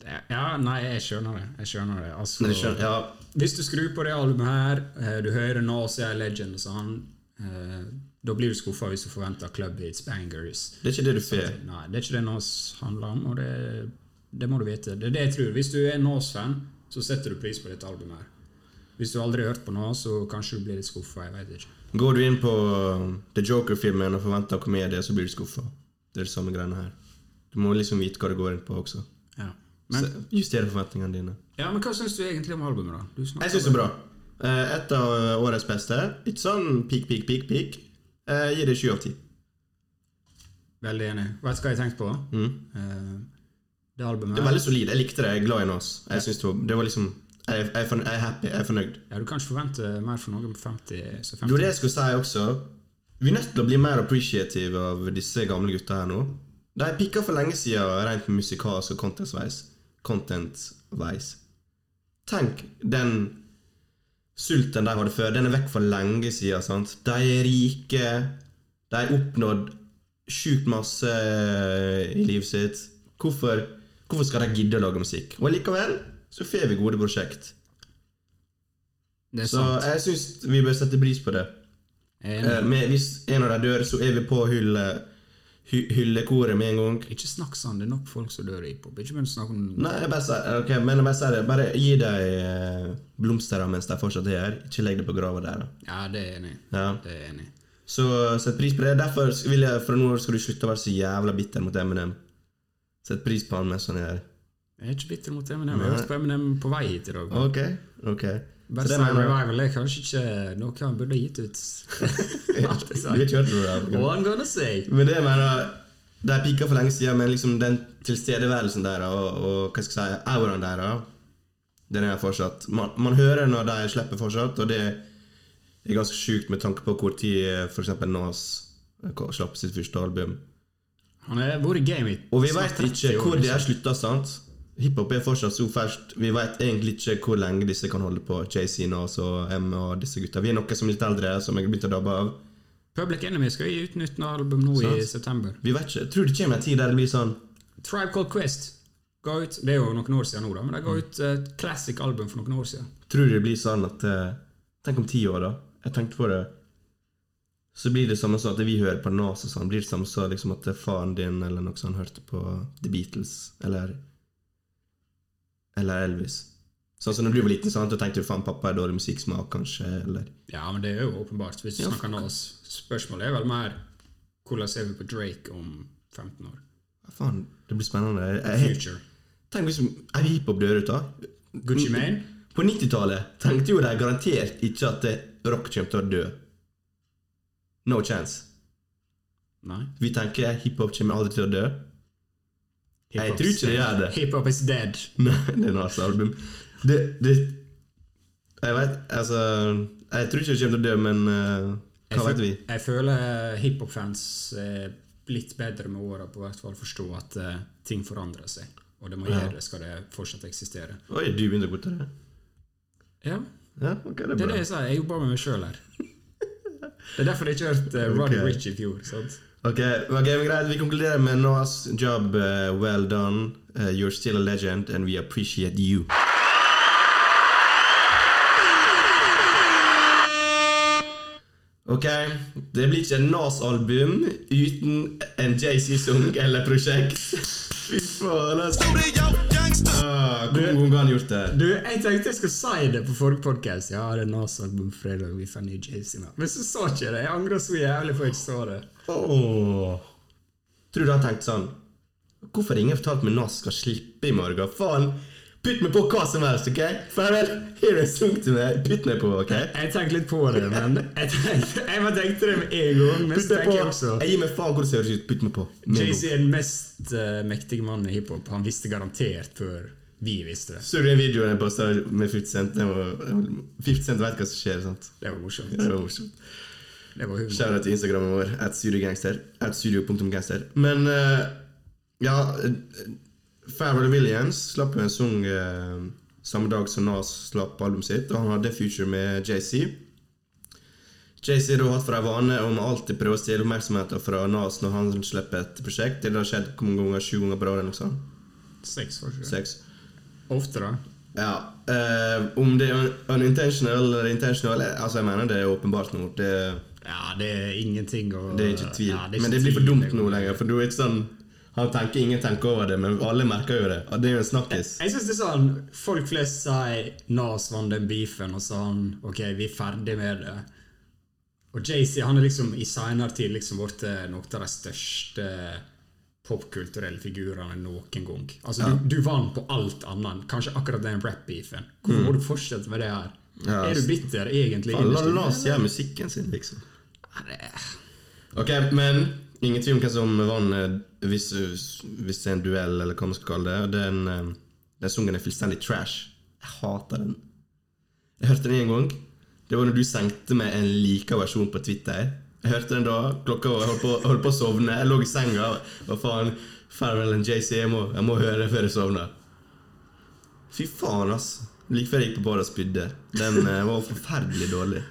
Det- Ja, nei, jeg skjønner det. Jeg skjønner det. Altså, Men jeg skjønner, ja, Hvis du skrur på det albumet her, eh, du hører Nas er legend og sånn, eh, da blir du skuffa hvis du forventer club hits, bangers. det er ikke det du får. Nei, det er ikke det Nas handler om, og det, det må du vite. Det er det jeg tror. Hvis du er Nas-fan, så setter du pris på dette albumet. her. Hvis du aldri har hørt på Nas, så kanskje du blir litt skuffa. Jeg vet ikke. Går du inn på eh, The Joker-filmen og forventer komedie, så blir du skuffa. Det er det samme greiene her. Du må liksom vite hva du går inn på også. Ja. Så Men, Justere forventningene dine. ja, men hva syns du egentlig om albumet, da? Du snakker- Jeg syns det er bra. Eh, Et av årets beste. Ikke sånn peak, peak, peak, peak. Eh, Gir det sju av ti. Veldig enig. Vet du hva jeg tenkte på? Eh, det albumet Mm. Det er her- veldig solid. Jeg likte det. Jeg er glad i Nas. Jeg synes det, var, det var liksom jeg, jeg, er fornøyd, jeg er happy. Jeg er fornøyd. ja, Du kan ikke forvente mer for noen på 50 så 50 Det var det jeg skulle si også. Vi er nødt til å bli mer appreciative av disse gamle gutta her nå. De pikka for lenge siden rent musikalsk og content-veis. Content-veis. Tenk den sulten de hadde før. Den er vekk for lenge siden. Sant? De er rike. De har oppnådd sjukt masse eh, i livet sitt. Hvorfor, hvorfor skal de gidde å lage musikk? Og likevel så får vi gode prosjekt. Det er Så sant. jeg syns vi bør sette pris på det. Jeg er enig. Eh, men hvis en av dem dør, så er vi på hylle, hy, hyllekoret med en gang. Ikke snakk sånn. Det er nok folk som dør i hiphop. Ikke begynn å snakke om Nei, jeg bare sier ok, men jeg bare sier det. Bare gi dem eh, blomster mens de fortsatt er her. Ikke legg det på grava der. da. Ja, det er jeg enig. i. Ja. Det er jeg enig. i. Så sett pris på det. Derfor vil jeg, fra nå av skal du slutte å være så jævla bitter mot Eminem. Sett pris på han mens han er her. Jeg er ikke bitter mot Eminem. Jeg har hørt på Eminem på vei hit i dag. Ok, ok. Så Best det Time mener [laughs] jeg. Revival er kanskje ikke noe han burde ha gitt ut. [laughs] [laughs] Alt er Du har sant. ikke hørt noe av det? What I'm gonna say. Men det mener jeg De pika for lenge siden, men liksom den tilstedeværelsen der og, og hva skal jeg si, auraen der, den er fortsatt man, man hører når de slipper fortsatt, og det er ganske sjukt med tanke på hvor tid f.eks. Nas eh, slapp sitt første album. Han har vært i game hit. Og vi snart veit 30 ikke år, hvor det liksom. har slutta, sant? Hiphop er fortsatt så ferskt. Vi veit egentlig ikke hvor lenge disse kan holde på. JC, Nas og M og disse gutta. Vi er noen som er litt eldre, som jeg har begynt å dabbe av. Public Enemy skal gi ut nytt album nå i Sant. september. Vi vet ikke. Tror det kommer en tid der det blir sånn Tribe Called Quest ga ut Det er jo noen år siden nå, da, men de ga ut et classic album for noen år siden. Tror det blir sånn at eh, Tenk om ti år, da. Jeg tenkte på det. Så blir det samme sånn at vi hører på Nas og sånn. Blir det samme sånn liksom at faren din eller noe sånn hørte på The Beatles eller Eller Elvis. Sånn som når du var liten, sant? da tenkte du faen, pappa har dårlig musikksmak, kanskje, eller Ja, men det er jo åpenbart, hvis du Ja, snakker Nas. Spørsmålet er vel mer hvordan ser vi på Drake om 15 år? Hva Faen, det blir spennende. Jeg, jeg, Future. tenk hvis er hiphop dør ut, da? Mm. Gucci Mane? På 90-tallet tenkte jo de garantert ikke at eh, rock kommer til å dø. No chance. Nei. Vi tenker hiphop kommer aldri til å dø. Jeg Hiphop's tror ikke det dead. gjør det. Hiphop is dead. [laughs] Nei, det er Nas album. Det, det Jeg vet, altså Jeg tror ikke det kommer til å dø, men eh, hva Jeg vet fø- vi? Jeg føler hiphop-fans er blitt bedre med åra på hvert fall forstå at eh, ting forandrer seg. Og det må gjøre det, skal det fortsatt eksistere. Oi, du begynte å gå til det? Ja, Ja, ok, det er det er bra. det jeg sier. Jeg jobber med meg sjøl her. Det er derfor jeg ikke hørte uh, Roddy Ok. Rich i fjor. sant? Ok, ok, men greit, vi konkluderer med Nas job. eh, well done. Eh, you're still a legend, and we appreciate you. Ok, det blir ikke et Nas-album uten en JC-sang eller prosjekt. [laughs] Fy faen, altså. Ah, Hvor mange ganger har han gjort det? Du, Jeg tenkte jeg skulle si det på forrige podcast. Ja, det er Nas-album fredag. Vi får ny Jason. Men så sa ikke jeg det. Jeg angrer så jævlig på at jeg ikke sa det. Åh. Tror du han tenkte sånn Hvorfor har ingen fortalt meg Nas skal slippe i morgen? Faen! Putt meg på hva som helst, OK? Farvel! Her er en sang til meg. Putt meg på, OK? Jeg tenkte litt på [laughs] det, men jeg tenkte, jeg bare tenkte det med en gang. Men Putt meg på. så tenker jeg også Jeg gir meg faen hvordan det høres ut. Putt meg på. Med en Jay-Z gang. er den mest eh, mektige mannen i hiphop. Han visste garantert før vi visste det. Så du den videoen jeg posta med 50 Cent? Den var- 50 Cent vet hva som skjer, sant? Det var morsomt. Det var morsomt. Det var humor. Shout out til Instagrammen vår, at studiogangster, at studio.gangster. Men eh, ja eh, Pharrell Williams slapp jo en sang eh, samme dag som Nas slapp albumet sitt, og han hadde Future med JC. JC har hatt for en vane om å alltid prøve å stjele oppmerksomheten fra Nas når han slipper et prosjekt. Det har skjedd hvor mange ganger? Sju ganger per år? eller noe sånt. Sex, var ikke det? Seks. Ofte, da. Ja. eh, om det er un unintentional eller intentional eh, Altså, jeg mener det er åpenbart nå. Det er Ja, det er ingenting å Det er ikke tvil. Ja, men ikke det blir for tvil, dumt det går. nå lenger. For du er ikke sånn Han tenker ingen tenker over det, men alle merker jo det. Og det er jo en snakkis. Jeg synes det er sånn Folk flest sier Nas vant den beefen, og sånn OK, vi er ferdig med det. Og Jay-Z han er liksom i senere tid liksom blitt eh, noen av de største popkulturelle figurene noen gang. Altså, du, du vant på alt annet, enn kanskje akkurat den rap-beefen. Hvorfor må du fortsette med det her? Ja, er du bitter, egentlig? Faen, La innerst inne? la oss gjøre musikken sin, liksom. Ok, men ingen tvil om hvem som vant eh, hvis, hvis det er en duell, eller hva man skal kalle det. Den, eh, den sangen er fullstendig trash. Jeg hater den. Jeg hørte den én gang. Det var når du sendte meg en lika versjon på Twitter. Jeg hørte den da. Klokka var holdt på, holdt på å sovne. Jeg lå i senga. Hva faen? Farrell og JC, jeg, må- jeg må høre den før jeg sovner. Fy faen, ass. Like før jeg gikk på badet og spydde. Den eh, var forferdelig dårlig.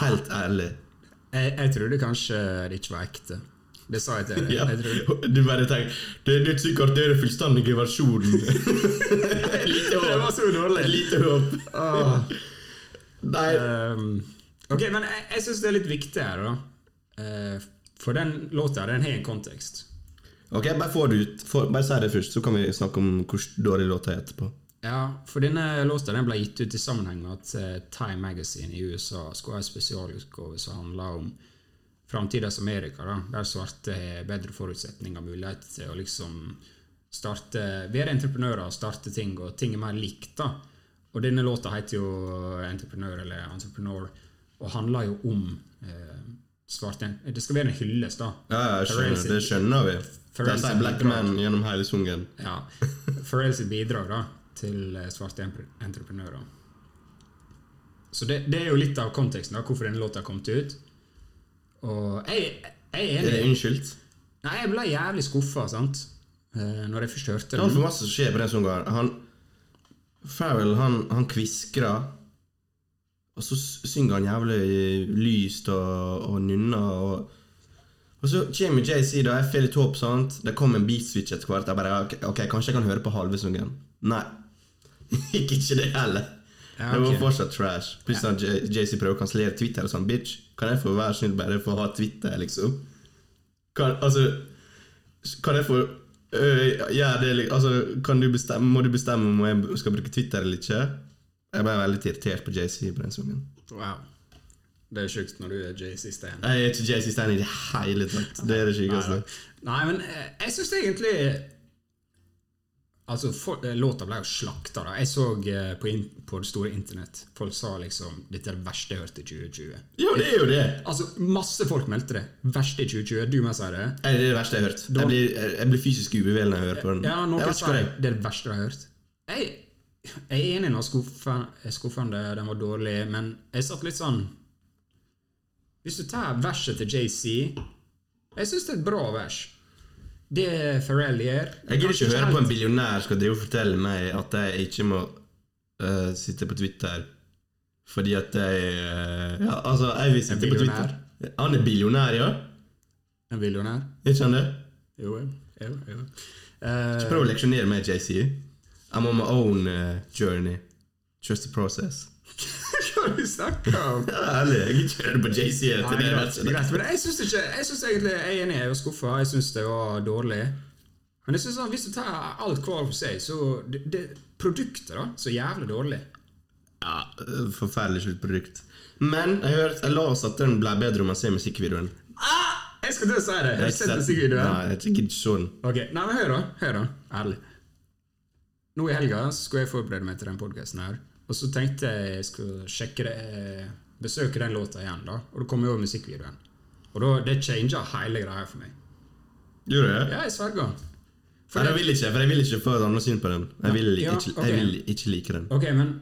Helt ærlig. Jeg, jeg trodde kanskje det ikke var ekte. Det sa jeg til deg. Ja. Jeg trodde- Du bare tenker Det er ikke sikkert det er den fullstendige versjonen. lite håp. Det var så dårlig. Lite håp. [laughs] Nei. Ehm, ok, men jeg, jeg syns det er litt viktig her, da. Eh, for den låta den har en kontekst. Ok, bare få det ut. Få- bare si det først, så kan vi snakke om hvor dårlig låta er etterpå. Ja, for denne låta den ble gitt ut i sammenheng med at eh, Time Magazine i USA skulle ha en spesialutgave som handla om framtidas Amerika, da, der svarte har bedre forutsetninger og mulighet til å liksom starte, være entreprenører og starte ting, og ting er mer likt. da. Og denne låta heter jo eh, 'Entreprenør' eller 'Entrepreneur', og handler jo om eh, svarte Det skal være en hyllest, da. Ja, ja, jeg Pharrell skjønner, sitt- det skjønner vi. Pharrell Det sier sitt Black bidrag. Man gjennom hele sangen. Ja. Pharrell sitt bidrag da, til eh, svarte empre- entreprenører. Så det, det er jo litt av konteksten, da, hvorfor denne låta kom til ut. Og jeg, jeg er Er det enig. unnskyldt? Nei, jeg ble jævlig skuffa, sant. Eh, Når jeg først hørte Det er den. altfor masse som skjer på den sangen. her. Han Farrell, han, han kviskrer. Og så s- synger han jævlig lyst og, og nynner. Og, og så kommer JC, da. Jeg får litt håp. sant? Det kom en beat switch etter hvert. Jeg bare, ok, ok, Kanskje jeg kan høre på halve sungen. Nei. [laughs] Gikk ikke det heller. Ja, Det var ok. fortsatt trash. Plutselig ja. JC prøver å kansellere Twitter og sånn. Bitch, kan jeg få være snill bare få ha Twitter, liksom? Kan, altså, kan jeg få øh, gjøre det li- altså, kan du bestemme, Må du bestemme om jeg skal bruke Twitter eller ikke? Jeg ble veldig irritert på JC på den sangen. Wow. Det er sjukt når du er JC-stan. Jeg er ikke JC Stan i det hele tatt. Det er det sykeste. Nei, men eh, jeg syns egentlig Altså, for, eh, låta ble jo slakta, da. Jeg så eh, på, in, på det store internett folk sa liksom Dette er det verste jeg hørte i 2020. Jo, det er jo det! Altså, masse folk meldte det. Verste i 2020. Du med, sier det. Det er det verste jeg har hørt. Jeg blir, jeg blir fysisk ubevel når jeg hører på den. Ja, noen jeg vet ikke hva sier Mm. det det er. er det verste jeg har hørt. Jeg, jeg er enig i den var skuffen- skuffende, den var dårlig, men jeg satt litt sånn Hvis du tar verset til JC Jeg syns det er et bra vers. Det Pharrell gjør Jeg gidder ikke kanskje høre på en helt- billionær skal drive og fortelle meg at jeg ikke må øh, sitte på Twitter fordi at jeg øh, Ja, altså, jeg vil sitte på billionær? Twitter. Han er billionær, ja? En billionær? Ikke han det? Jo, jo. jo, jo. Eh, Prøv å leksjonere meg, JC. I'm on my own øh, journey. Just the process. hva er det du snakker om? Ja, ærlig, jeg gidder ikke høre på JC Nei, etter det greit, verset. greit, men jeg syns ikke Jeg synes egentlig jeg er enig, jeg er skuffa. Jeg syns det var dårlig. Men jeg synes sånn, hvis du tar alt hver for seg, så det, det, Produktet, da. Så jævlig dårlig. Ja, eh, forferdelig sluttprodukt. Men jeg hørte, jeg las at den ble bedre om man ser musikkvideoen. Jeg skal til å si det! Har du sett Nei, musikkvideoen? jeg gidder ikke se den. Ok, nei, men hør, da. Hør, da. Ærlig. Nå i helga så skulle jeg forberede meg til den podkasten her, og så tenkte jeg jeg skulle sjekke det eh, Besøke den låta igjen, da. Og da kom jo musikkvideoen. Og da, det changa hele greia for meg. Gjorde du det? Ja, jeg sverger. For Nei, jeg det- vil ikke, for jeg vil ikke få et annet syn på den. Jeg vil, Ja, ikke, ok. jeg vil ikke like den. Ok, men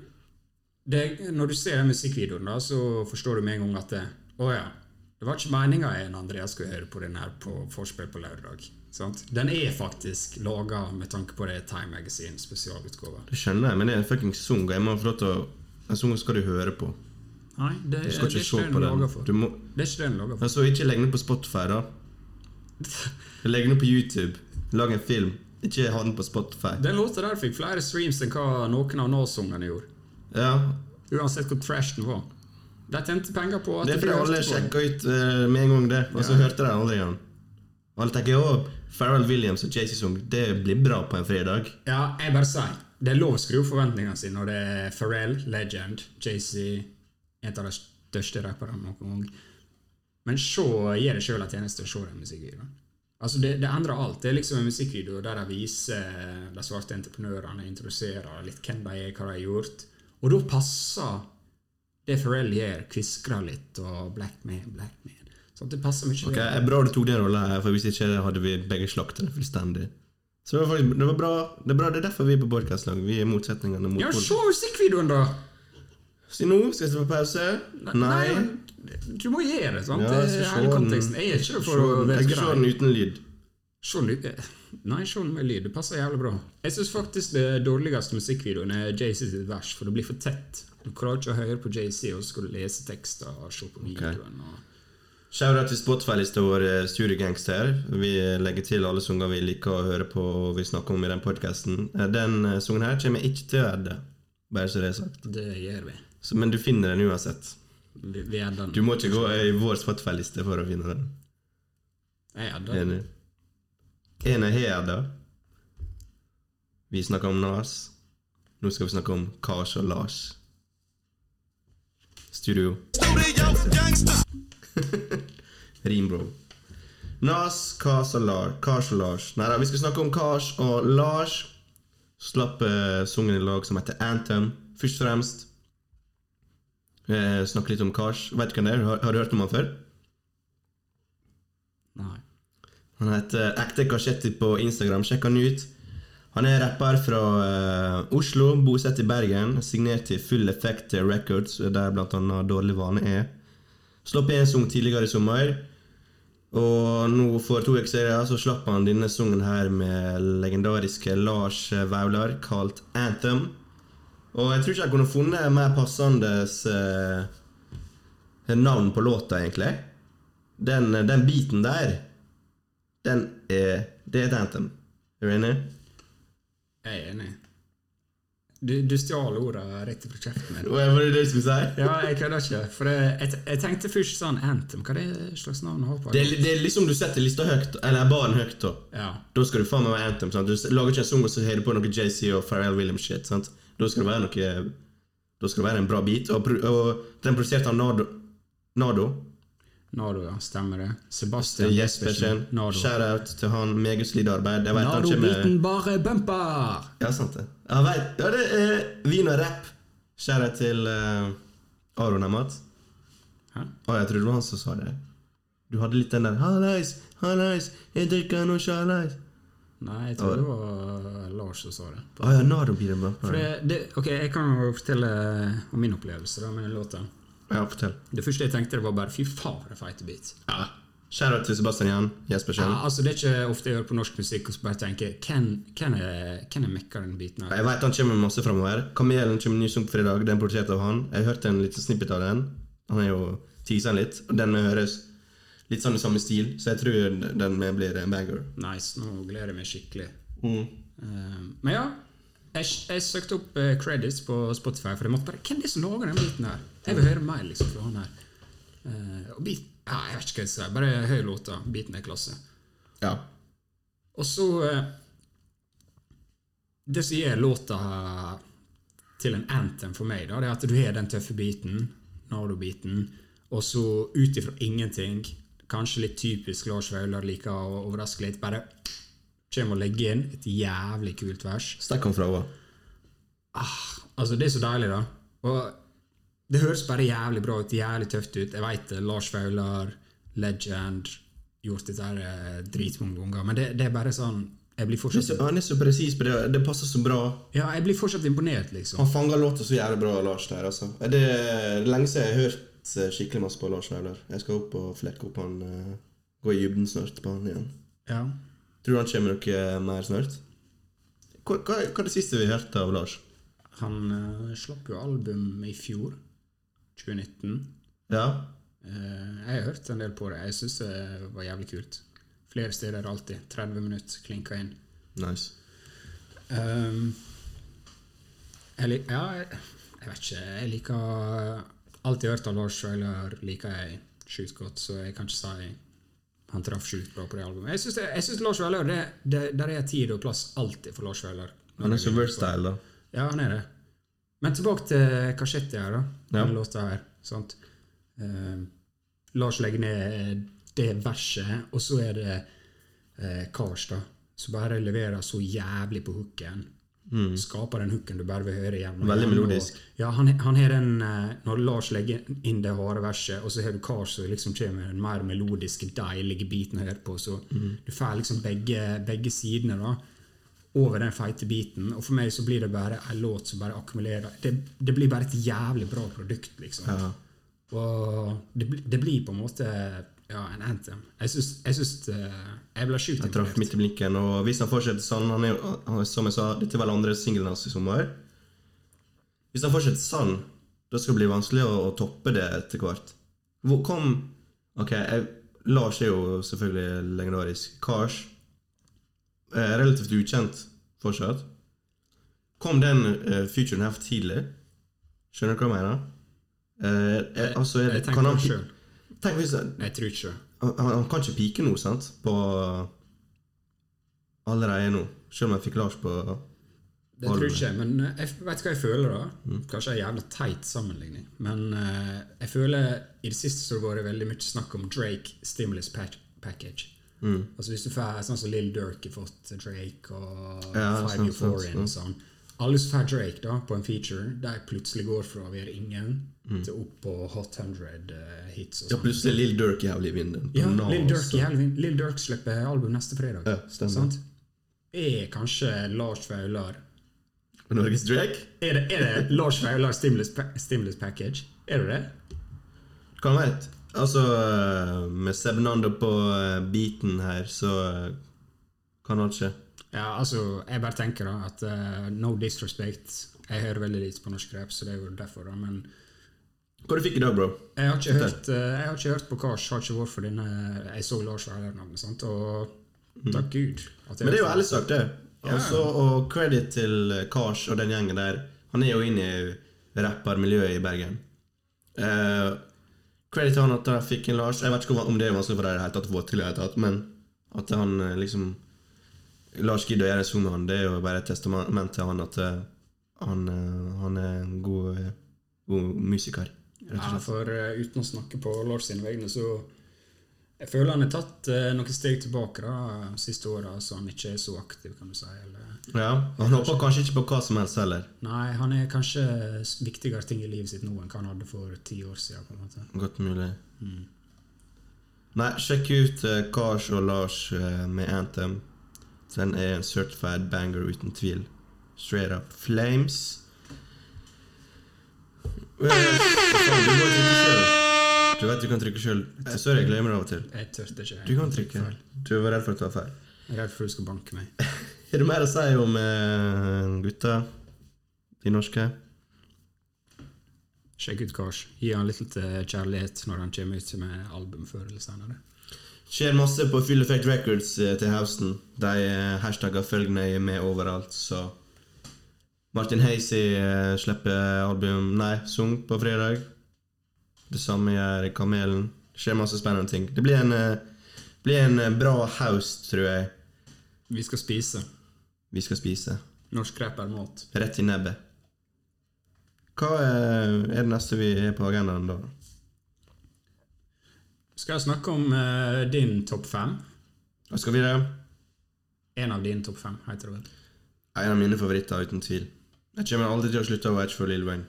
det, når du ser den musikkvideoen, da, så forstår du med en gang at det, Å ja. Det var ikke meninga en Andreas skulle høre på den her på Forspill på lørdag. Sant? Den er faktisk laga med tanke på det Time Magazine spesialutgåva. Det skjønner jeg, men det er en fucking sung, og jeg må få lov til å En sung skal du høre på. Nei, det, Du skal det ikke er se ikke på den laga den. for. Du må, Det er ikke det den er laga for. altså, ikke legg den på Spotify, da. Legg den på YouTube. Lag en film. Ikke ha den på Spotify. Den låta der fikk flere streams enn hva noen av Nas-sangene gjorde. Ja, Uansett hvor trash den var. De tjente penger på at Det er fordi ble alle hørt på. sjekka ut eh, med en gang det, og så hørte de aldri han. Alle tenker òg Pharrell Williams og Jay-Z Sung, det blir bra på en fredag. Ja, jeg bare sier Det er lov å skru opp forventningene sine når det er Pharrell, Legend, JC En av de største rapperne noen gang. Men se, gi deg sjøl en tjeneste og se den musikkvideoen. Altså, det, det endrer alt. Det er liksom en musikkvideo der de viser de svarte entreprenørene, introduserer litt hvem de er, hva de har gjort. Og da passer det Pharrell gjør, kviskrer litt og black man, black man. Sånn, det passer mye. Ok, bedre. er Bra du tok den rolla her, for hvis ikke hadde vi begge slaktet det fullstendig. Så det var faktisk det var bra. Det er bra, det er derfor vi er på podkastlag. Vi er motsetningene mot Ja, folk. se musikkvideoen, da! Så nå skal vi ta pause. Nei. men Du må gjøre det, sant? Ja, det jeg skal er se hele den. konteksten. Jeg er ikke Se for å den- Jeg være skal se den grei. uten lyd. Se lyd Nei, se den med lyd. Det passer jævlig bra. Jeg syns faktisk det dårligste musikkvideoen er JC sitt vers, for det blir for tett. Du klarer ikke å høre på JC og skulle lese tekster og se på videoen. Og... Shout-out til Spotify-lista vår eh, Studio Gangster. Vi legger til alle sanger vi liker å høre på og vi snakker om i den podkasten. Den eh, sangen her kommer jeg ikke til å edde, bare så det er sagt. Det gjør vi. Så, men du finner den uansett. Vi, vi er den. Du må ikke gå i vår Spotify-liste for å finne den. Jeg er den. Enig. En er her, da. Vi snakker om Nas. Nå skal vi snakke om Kars og Lars. Studio. Rim, bro. Nas, Kars og Lars. Kars og Lars. Nei da, vi skal snakke om Kars og Lars. Slapp eh, sungen i lag som heter Anthem. Først og fremst eh, Snakke litt om Kars. Vet du hvem det er? Har, har du hørt om han før? Nei. Han heter Ekte Kasjetti på Instagram. Sjekk han ut. Han er rapper fra eh, Oslo, bosatt i Bergen. Signert til Full Effect Records, der bl.a. Dårlig vane er. Slapp en sang tidligere i sommer, og nå for to uker siden så slapp han denne sangen her med legendariske Lars Vaular, kalt Anthem. Og jeg tror ikke jeg kunne funnet mer passende eh, navn på låta, egentlig. Den, den biten der, den er Det er et anthem. Er du enig? Jeg er enig. Du, du stjal ordene rett fra [laughs] kjeften min. Hva var det du skulle si? Ja, jeg kødder ikke. For jeg, jeg, jeg tenkte først sånn Anthem, hva er det slags navn har på Det, er- det er liksom du setter lista høyt, eller baren høyt, da. Ja. Da skal du faen meg være anthem. sant? Du lager ikke en sang og så har du på noe JC og Pharrell Williams-shit. sant? Da skal det være noe Da skal det være en bra beat. Og, pro- og den produserte av Nardo. Nardo. Nardo, ja. Stemmer det. Det Sebastian er Jespersen. Nardo. Shout-out til han. Meget solid arbeid. Jeg vet han Nardo kommer Beaten bare bumper! Ja, sant det. Jeg vet, ja, det er vin og rapp. Shout-out til eh, Aron Amat. Hæ? Å, jeg trodde det var han som sa det. Du hadde litt den der Hallais, hallais, jeg drikker noe sjalais. Nei, jeg tror det var Lars som sa det. Å ja, Nardo blir det For bumper. det, det, ok, Jeg kan jo fortelle om min opplevelse da, med den låta. Ja, fortell. Det første jeg tenkte, det var bare fy faen, for en feit beat. Ja. Shout-out til Sebastian Jan Jespersen. Ja, altså, det er ikke ofte jeg hører på norsk musikk og så bare tenker Hvem hvem er hvem er mekker den biten her? Jeg vet han kommer med masse framover. Kamelen kommer en ny sang på fredag. Den er produsert av han. Jeg hørte en liten snippet av den. Han er jo teaser litt. Og den høres litt sånn i samme stil, så jeg tror den blir en banger. Nice, nå gleder jeg meg skikkelig. Eh, men ja, jeg, jeg søkte opp eh, credits på Spotify, for jeg måtte bare Hvem er det som lager den biten her? Jeg vil høre mer liksom fra han her. Eh, og beat, ja, jeg vet ikke hva jeg skal si, bare hør låta. Beaten er klasse. Ja. Og så eh, Det som gjør låta til en anthem for meg, da, det er at du har den tøffe biten, Nardo-biten, og så ut ifra ingenting, kanskje litt typisk Lars Vaular liker å overraske litt, bare kommer og legger inn et jævlig kult vers. Stakk han fra henne. Altså, det er så deilig, da. Og det høres bare jævlig bra ut, jævlig tøft ut. Jeg veit det. Lars Vaular, legend, gjort dette her eh, dritmange ganger. Men det, det er bare sånn Jeg Han blir er fortsatt så- Han er så presis på det, det passer så bra. Ja, jeg blir fortsatt imponert, liksom. Han fanger låta så jævlig bra, Lars. der, altså. Det er lenge siden jeg har hørt eh, skikkelig masse på Lars Vaular. Jeg skal opp og flekke opp han. eh, Gå i dybden snart på han igjen. Ja. Tror du han kommer noe eh, mer snart? Hva, hva, hva er det siste vi hørte av Lars? Han eh, slapp jo album i fjor, 2019. Ja? Eh, jeg har hørt en del på det. Jeg syns det var jævlig kult. Flere steder alltid. 30 minutter klinka inn. Nice. Um, jeg, lik, ja, jeg, jeg vet ikke. Jeg liker Alt jeg har hørt av Lars Schuyler, liker jeg sjukt godt, så jeg kan ikke si han traff sjukt bra på det albumet. Jeg syns, det, jeg synes Lars Schuyler det, det, Der er tid og plass alltid for Lars Schuyler. Han er så versatile, da. Ja, han er det. Men tilbake til Kasjetti her, da. Ja. Den låta her. Sant? Eh, Lars legger ned det verset, og så er det uh, Kars, da. Som bare leverer så jævlig på hooken. Skaper den hooken du bare vil høre igjen. og Mm. Veldig igjen, og- melodisk. Ja, han, han har den eh, Når Lars legger inn det harde verset, og så har du Kars som liksom kommer med den mer melodiske, deilige biten å høre på, så Mhm. du får liksom begge, begge sidene, da over den feite biten. Og for meg så blir det bare en låt som bare akkumulerer. Det, det blir bare et jævlig bra produkt, liksom. Og det, bli- det blir på en måte ja, en anthem. Jeg syns Jeg, syns, eh, jeg ble sjukt Jeg traff midt i blinken, og hvis han fortsetter sånn han er, jo- han, Som jeg sa, dette er vel andre singelen hans i sommer. Hvis han fortsetter sånn, da skal det bli vanskelig å, å toppe det etter hvert. Hvor kom Ok, jeg, Lars er jo selvfølgelig legendarisk. Kars er relativt ukjent fortsatt. Kom den uh, featuren her for tidlig? Skjønner du hva jeg mener? Eh, eh, altså, er, Jeg det- tenker kan han, det selv. tenk hvis Jeg tror ikke han, han han kan ikke pike nå, sant? På eh, Allerede nå. Selv om jeg fikk Lars på Det tror jeg ikke, men eh, jeg vet hva jeg føler da. Mm. Kanskje en jævla teit sammenligning. Men eh, jeg føler i det siste så går det veldig mye snakk om Drake stimulus pack package. Mm. Altså Hvis du får sånn som Lill Durk har fått til Drake og Ja, Five sant, sant, Euphorian og sånn Alle som får Drake da på en feature, de plutselig går fra å være ingen til opp på Hot 100 eh, hits og Mm. Ja, sånn. plutselig Lill Durk jævlig i vinden. Ja, Nå, Lill Durk, altså. i helgen- Lil Durk slipper album neste fredag. Ja, stemmer. sant? Er kanskje Lars Vaular Norges Drake? er det, er det Lars Vaular stimulus, pa- stimulus package? Er det det? Kan være et. Altså, eh, med Sebnando på eh, beaten her, så eh, kan han ikke. Ja, altså, jeg bare tenker da at eh, no disrespect Jeg hører veldig lite på norsk rap, så det er jo derfor, da. Men Hva du fikk i dag, bro? jeg har ikke hørt, eh, jeg har ikke hørt på Kars, har ikke vært for denne Jeg så Lars Vaular-navnet, sant, og takk Gud. at jeg Men det er jo hørte- ærlig sagt, det. Også, og credit til eh, Kars og den gjengen der. Han er jo inne i rappermiljøet i Bergen. Eh, credit til han at han fikk en Lars. Jeg vet ikke om- om det er vanskelig for deg i det hele tatt å få til, i det hele tatt, men at han eh, liksom Lars gidder å gjøre en sang med han, det er jo bare et testament til han at eh, han, eh, han er en god, eh, god musiker. Ja, for eh, uten å snakke på Lars sine vegne, så jeg føler han har tatt eh, noen steg tilbake da, de siste åra, så han ikke er så aktiv, kan du si. Eller, Ja, og Han hopper kanskje ikke på hva som helst heller. nei, han er kanskje s- viktigere ting i livet sitt nå enn hva han hadde for ti år siden. På en måte. Godt mulig. Nei, sjekk ut eh, Kars og Lars eh, med Anthem. Den er en certified banger uten tvil. Straight up flames. Eh, faen, Du må trykke selv. Du vet du kan trykke sjøl. Sorry, jeg glemmer det av og til. Jeg tørte ikke. Du kan trykke. Du var redd for å ta feil. Jeg er redd for du skal banke meg. Er det mer å si om eh, gutta? De norske? Sjekk ut Kars. Gi han litt eh, kjærlighet når han kommer ut med album før eller senere. Skjer masse på Full Effect Records eh, til høsten. De eh, hashtagger følg nøye med overalt, så Martin Hazy eh, slipper album Nei, sang på fredag. Det samme gjør Kamelen. Skjer masse spennende ting. Det blir en, eh, blir en eh, bra haust, tror jeg, Vi skal spise. vi skal spise. Norsk rap er mat. Rett i nebbet. Hva er, er det neste vi er på agendaen da? Skal jeg snakke om eh, din topp fem? Hva skal vi gjøre? En av dine topp fem, heter det vel. En av mine favoritter, uten tvil. Jeg kommer aldri til å slutte å være for Lill Wayne.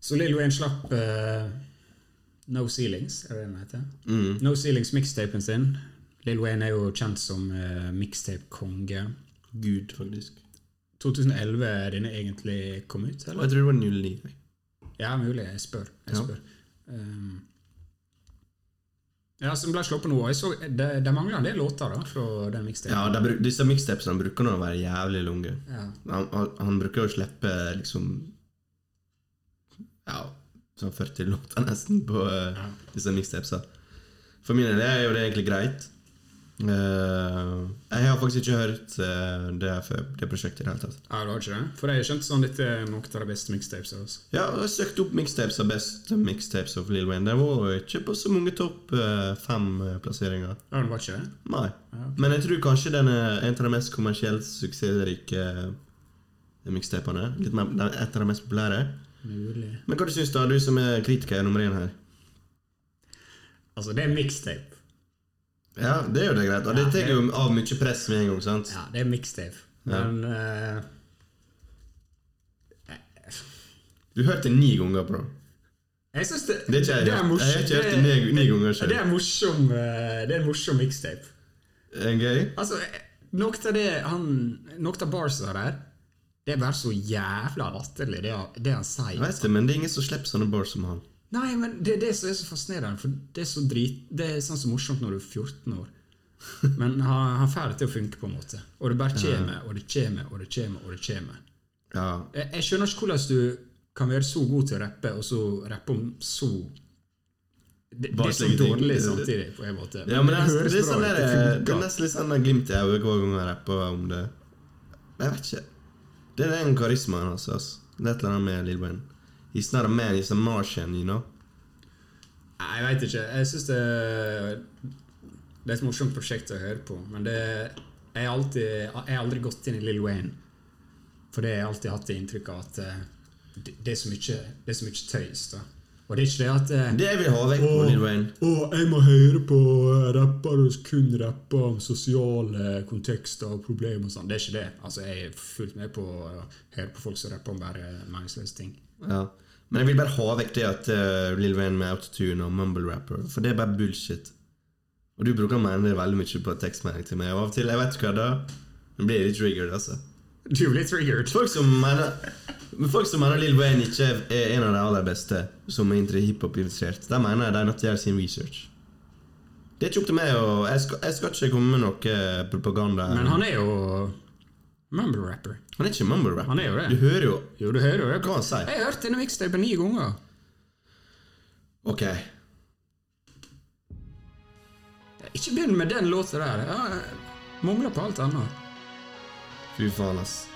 Så Lill Wayne slapp eh, No Ceilings, er det den heter? Mm. No Ceilings-mixtapen sin. Lill Wayne er jo kjent som eh, mixtape-konge. Gud, faktisk. 2011 er den egentlig kom ut, Og eller? jeg tror det var 09. jeg. Ja, mulig. Jeg spør. Jeg Ja. spør. Um, ja, som ble sluppet nå. og Jeg så, det, det mangler en del låter da, fra den Ja, mixtapen. de, bru- disse mixtapsene bruker nå å være jævlig lange. Ja. Han, han, han bruker å slippe liksom Ja, sånn 40 låter nesten på eh, Ja. disse mixtapsene. For min del er jo det egentlig greit. Eh, jeg har faktisk ikke hørt eh, det, her før, det prosjektet i det hele tatt. Ja, det var ikke det. For jeg skjønte sånn dette er noen av de beste mixtapes. Altså. Ja, og jeg søkte opp mixtapes av best mixtapes av Lil Wayne. Det var jo ikke på så mange topp eh, fem-plasseringer. Ja, det var ikke det. Nei. Men jeg tror kanskje den er en av de mest kommersielt suksessrike eh, mixtapene. Litt mer- den er Et av de mest populære. Mulig. Men hva du syns da, du som er kritiker nummer én her? Altså, det er mixtape. Ja, det er jo det greit. Og det Ja, det- tar jo av mye press med en gang, sant? Ja, det er mixtape. Men eh, Du hørte det ni ganger, bro. jeg syns det, Det er ikke jeg er hørt. morsom- Jeg har ikke hørt det det ni- ni ganger er- selv. Det er morsom, eh, det er en morsom mixtape. Er det gøy? Altså, eh, noe av det han Noe av barsa der, det er bare så jævla latterlig, det, han- det han Jeg sier. vet det, men det er ingen som slipper sånne bars som han. Nei, men det er det som er så fascinerende, for det er så drit Det er sånn så morsomt når du er [laughs] 14 år. Men han, han får det til å funke, på en måte. Og det bare kommer, og det kommer, og det kommer. Og det kommer. Ja. Jeg, jeg skjønner ikke hvordan du kan være så god til å rappe, og så rappe om så Det, det er så Barnslige ting. dårlig Det- det- samtidig, på en måte. Ja, men det, er, høres det, er sånn bra ut, der, det det er funker. nesten litt sånn der glimt i øyet hver gang jeg rapper om det. Jeg vet ikke. Det er den karismaen hans. altså, ass. Det er et eller annet med Lil Wayne. He's not a man, he's a Martian, you know. Nei, jeg veit ikke. Jeg syns det, det er et morsomt prosjekt å høre på, men det jeg har alltid, jeg har aldri gått inn i Lill Wayne. For det har jeg alltid hatt det inntrykket av at eh, det, det, er så mye, det er så mye tøys. da. Og det er ikke det at eh, Det vil jeg ha vekk på Lil Wayne. Å, jeg må høre på eh, rappere som kun rapper om sosiale kontekster og problemer og sånn. Det er ikke det. Altså, jeg er fullt med på å høre på folk som rapper om bare meningsløse ting. Ja. Men jeg vil bare ha vekk det at eh, Lil Wayne med autotune og mumble rapper, for det er bare bullshit. Og du bruker mener veldig mye på tekstmelding til meg, og av og til, jeg vet hva da, men blir jeg litt triggered, altså. Du blir triggered. Folk som mener men Folk som mener Lil Wayne ikke er en av de aller beste som er inntil hiphop-infisert, de mener jeg de er nødt til å gjøre sin research. Det er ikke opp til meg å jeg skal, jeg skal ikke komme med noe eh, propaganda. Men han er jo Mumble rapper. Han er ikke mumble rap. Han er jo det. Du hører jo Jo, du hører jo det. Hva han sier. Jeg har hørt denne mixtapen ni ganger. OK. Ikke begynn med den låta der. Jeg mangler på alt annet. Fy faen, ass.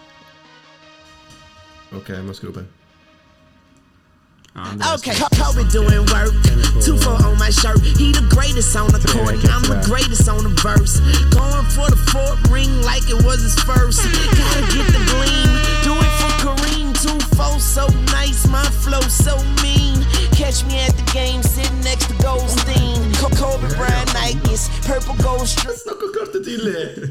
OK, jeg må skru opp her. Ja, det er- Okay, Poet doing work. Two four on my shirt. He the greatest on the court. I'm the greatest on the verse. Going for the fourth ring like it was his first. Gotta get the gleam. Do it for Kareem. Two four so nice. My flow so mean. Catch me at the game sitting next to Goldstein. Co- Kobe Bryant Nikes. Purple gold strip. Snakka klart og tydelig!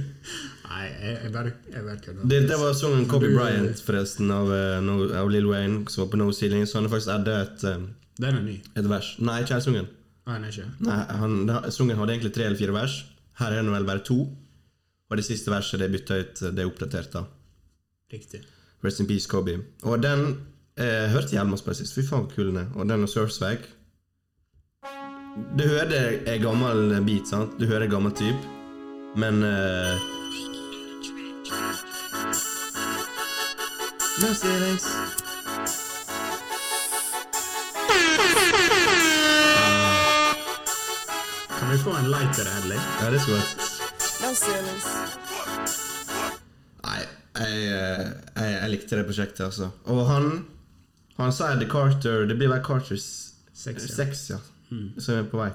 Nei, jeg, jeg bare, jeg bare kødder. Det, det var sangen Kobe Du- Bryant, forresten, av, eh, no, av Lil Wayne, som var på No Ceiling. Så han har faktisk adda et, eh, Den er ny. et vers. Nei, ikke hele sangen. Nei, den er ikke. Nei, Eh, han, da- Sangen hadde egentlig tre eller fire vers. Her er det vel bare to. Og det siste verset det er bytta ut, det er oppdatert. da. Riktig. Rest in peace, Kobe. Og den eh, hørte jeg Almas på sist. Fy faen, kul den er. Og den og Surfswag. Du hører en gammel beat, sant? Du hører en gammel type. Men eh, No ceilings. Kan vi få en lighter, ærlig? Ja, det er så godt. No ceilings. Nei, jeg, eh, jeg, jeg likte det prosjektet, altså. Og han Han sier The Carter Det blir vel Carters Seks, ja. Mm. seks, ja. Som er på vei.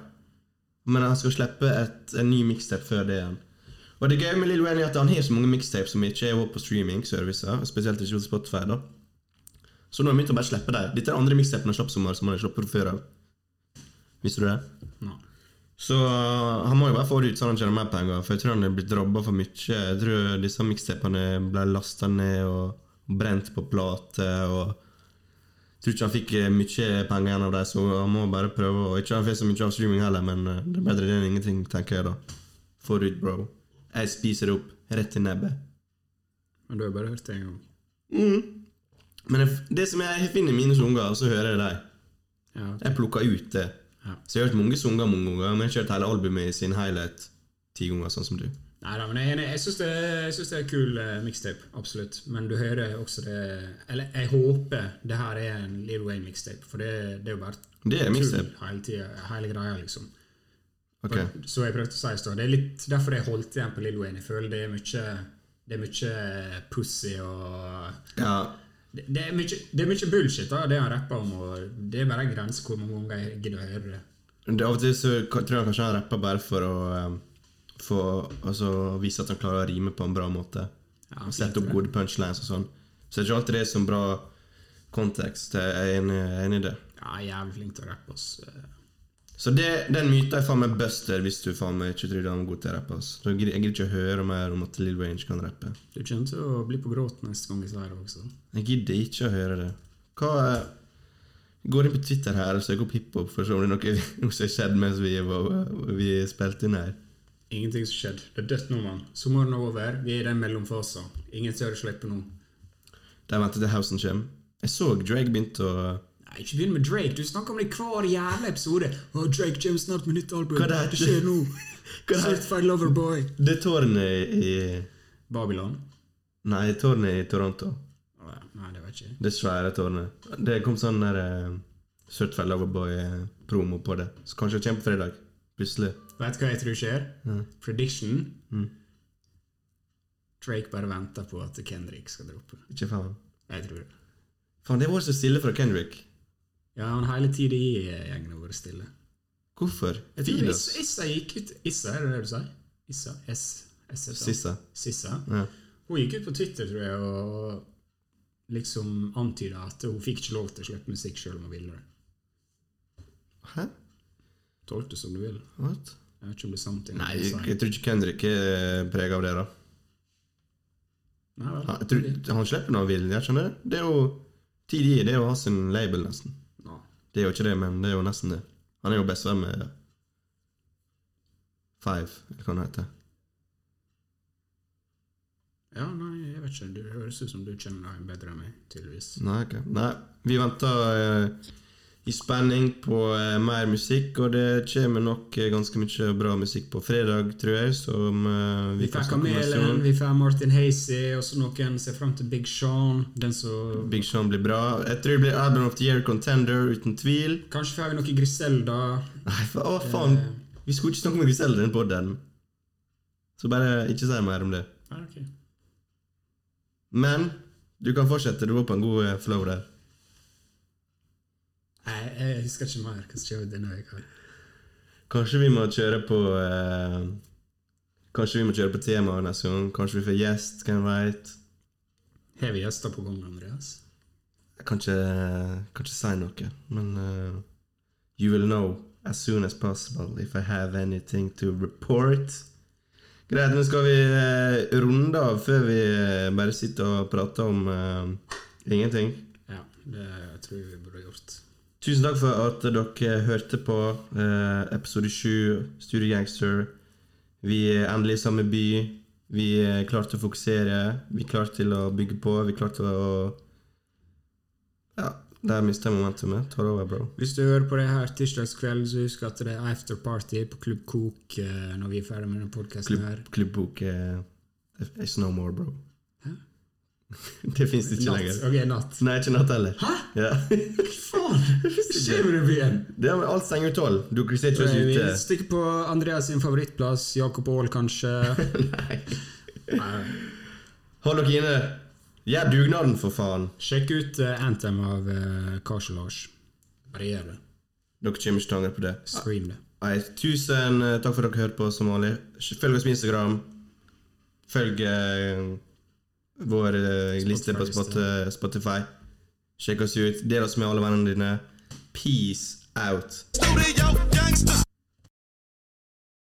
Men han skal slippe et, en ny mixtape før det igjen. Og det gøye med Lil Wayne er at han har så mange mixtapes som ikke er oppe på streaming-servicer. Spesielt ikke på Spotify, da. Så nå har han begynt å bare slippe dem. Dette er den andre mixtapen han slapp sommer, som han har sluppet før av. Visste du det? Nei. Så han må jo bare få det ut så han tjener mer penger, for jeg tror han er blitt robba for mye. Jeg tror disse mixtapene ble lasta ned og brent på plater og Jeg tror ikke han fikk eh, mye penger igjen av dem, så han må bare prøve. Og ikke han får så mye av streaming heller, men eh, det er bedre det enn ingenting, tenker jeg da. Få det ut, bro. Jeg spiser det opp rett i nebbet. Men du har bare hørt det en gang. Men jeg, f- det som jeg finner mine sanger, så hører jeg dem. Ja, ok. Jeg plukka ut det. Ja. Så jeg har hørt mange sanger mange ganger, men jeg har ikke hørt hele albumet i sin helhet ti ganger, sånn som du. Neida, men jeg, er enig. jeg syns det, jeg synes det er kul eh, mixtape, absolutt. Men du hører også det Eller jeg håper det her er en Lill Wayne mixtape, for det, det er jo bare Det er mixtape. tull hele tida, hele greia, liksom. Ok. Så jeg prøvde å si i stad. Det er litt derfor jeg holdt igjen på Lill Wayne. Jeg føler det er mye det er mye pussy og Ja, det, det, er mye, det er mye bullshit, da, det han rapper om. og Det er bare en grense hvor mange ganger jeg gidder å høre det. det, av og til så ka- tror jeg kanskje han rapper bare for å eh, få- altså, vise at han klarer å rime på en bra måte. Ja, og sette opp gode punchlines og sånn. Så det er ikke alltid det er sånn bra kontekst. Jeg er enig, jeg er enig i det. Ja, jævlig flink til å rappe, ass. Så det, den myten er faen meg buster hvis du faen meg ikke tror han er god til å rappe. ass. Så Jeg gidder jeg gidder ikke å høre mer om at Lil Wayne ikke kan rappe. Du kommer til å bli på gråt neste gang jeg sier det også. Jeg gidder ikke å høre det. Hva eh, Går inn på Twitter her og søker opp hiphop for å se om det er noe, [laughs] noe som har skjedd mens vi, var- vi spilte inn her. Ingenting som skjedde. Det er dødt nå, mann. Sommeren er over. Vi er i den mellomfasen. Ingen tør å slippe nå. De venter til hausen kommer. Jeg så Drake begynte å Nei, ikke begynn med Drake. Du snakker om det i hver jævla episode. Å, Drake kommer snart med nytt album. Hva det heter? det skjer [laughs] nå? Hva det heter? Certified Lover Boy. Det tårnet i Babylon? Nei, tårnet i Toronto. Å, ja. Nei, det vet jeg ikke. Det svære tårnet. Det kom sånn der uh, Surtfell Loverboy-promo på det. Så kanskje det kommer på fredag. Plutselig. Vet du hva jeg tror skjer? Prediction. Mm. Drake bare venter på at Kendrick skal droppe. Ikke faen. Jeg tror det. Faen, det var så stille fra Kendrick. Ja, han hele tida i gjengen har vært stille. Hvorfor? Jeg Feed tror oss. Issa, Issa gikk ut Issa, er det det du sier? Issa? S, S, S, Sissa. Sissa. Ja. Hun gikk ut på Twitter, tror jeg, og liksom antyda at hun fikk ikke lov til å slippe musikk sjøl om hun ville det. Hæ? Tolk det som du vil. What? Jeg vet ikke om det er sant. Nei, jeg, jeg tror ikke Kendrick er prega av det, da. Nei, vel, Han, jeg tror, han slipper når han vil, jeg skjønner det. Det er jo TDI, det er jo å ha sin label, nesten. Nei. Det er jo ikke det, men det er jo nesten det. Han er jo bestevenn med Five, eller hva han heter. Ja, nei, jeg vet ikke. Det høres ut som du kjenner deg bedre enn meg, tydeligvis. Nei, ok. Nei, vi venter eh, i spenning på eh, mer musikk, og det kommer nok eh, ganske mye bra musikk på fredag, tror jeg, som eh, vi, Vi kan får snakke om neste Kamelen, gang. vi får Martin Hazy, og så noen ser fram til Big Sean. Den som Big Sean blir bra. Jeg tror det blir Album of the Year Contender, uten tvil. Kanskje får vi noe Griselda. Nei, fa å, faen. Vi skulle ikke snakke om Griselda i den podden. Så bare ikke si mer om det. Ja, ok. Men du kan fortsette. Du var på en god eh, flow der. Nei, jeg husker ikke mer. Hva skjer denne uka? Kanskje vi må kjøre på eh, Kanskje vi må kjøre på temaet neste gang. Kanskje vi får gjest, hvem veit. Har vi gjester på gang, Andreas? Jeg kan ikke, kan ikke si noe, men eh, You will know as soon as possible if I have anything to report. Greit, nå skal vi eh, runde av før vi eh, bare sitter og prater om eh, ingenting. Ja, det tror jeg vi burde gjort. Tusen takk for at dere hørte på eh, episode 7, Studio Gangster. Vi er endelig i samme by. Vi er klare til å fokusere. Vi er klare til å bygge på. Vi er klare til å Ja, der mista jeg momentumet. Tar over, bro. Hvis du hører på det her tirsdagskveld, så husk at det er afterparty på Klubb Kok eh, når vi er ferdig med denne podkasten her. Klubbbok eh, It's no more, bro. Hæ? [laughs] Det fins ikke Natt. lenger. Ok, natt. Nei, ikke natt heller. Hæ? Ja. [laughs] Hva faen? Skjer med byen? Det er alt stenger tolv. Dere ser ikke oss Vi ute. stikker på Andreas sin favorittplass, Jakob Aall kanskje. Nei. Hold dere inne. Gjør dugnaden, for faen. Sjekk ut eh, Anthem av eh, Kars og Lars. Bare gjør det. Dere kommer ikke til å angre på det. Stream det. Nei, tusen eh, takk for at dere hørte på som vanlig. Følg oss på Instagram. Følg eh, vår eh, liste på Spot- Spotify. Sjekk oss ut. Del oss med alle vennene dine. Peace out. Studio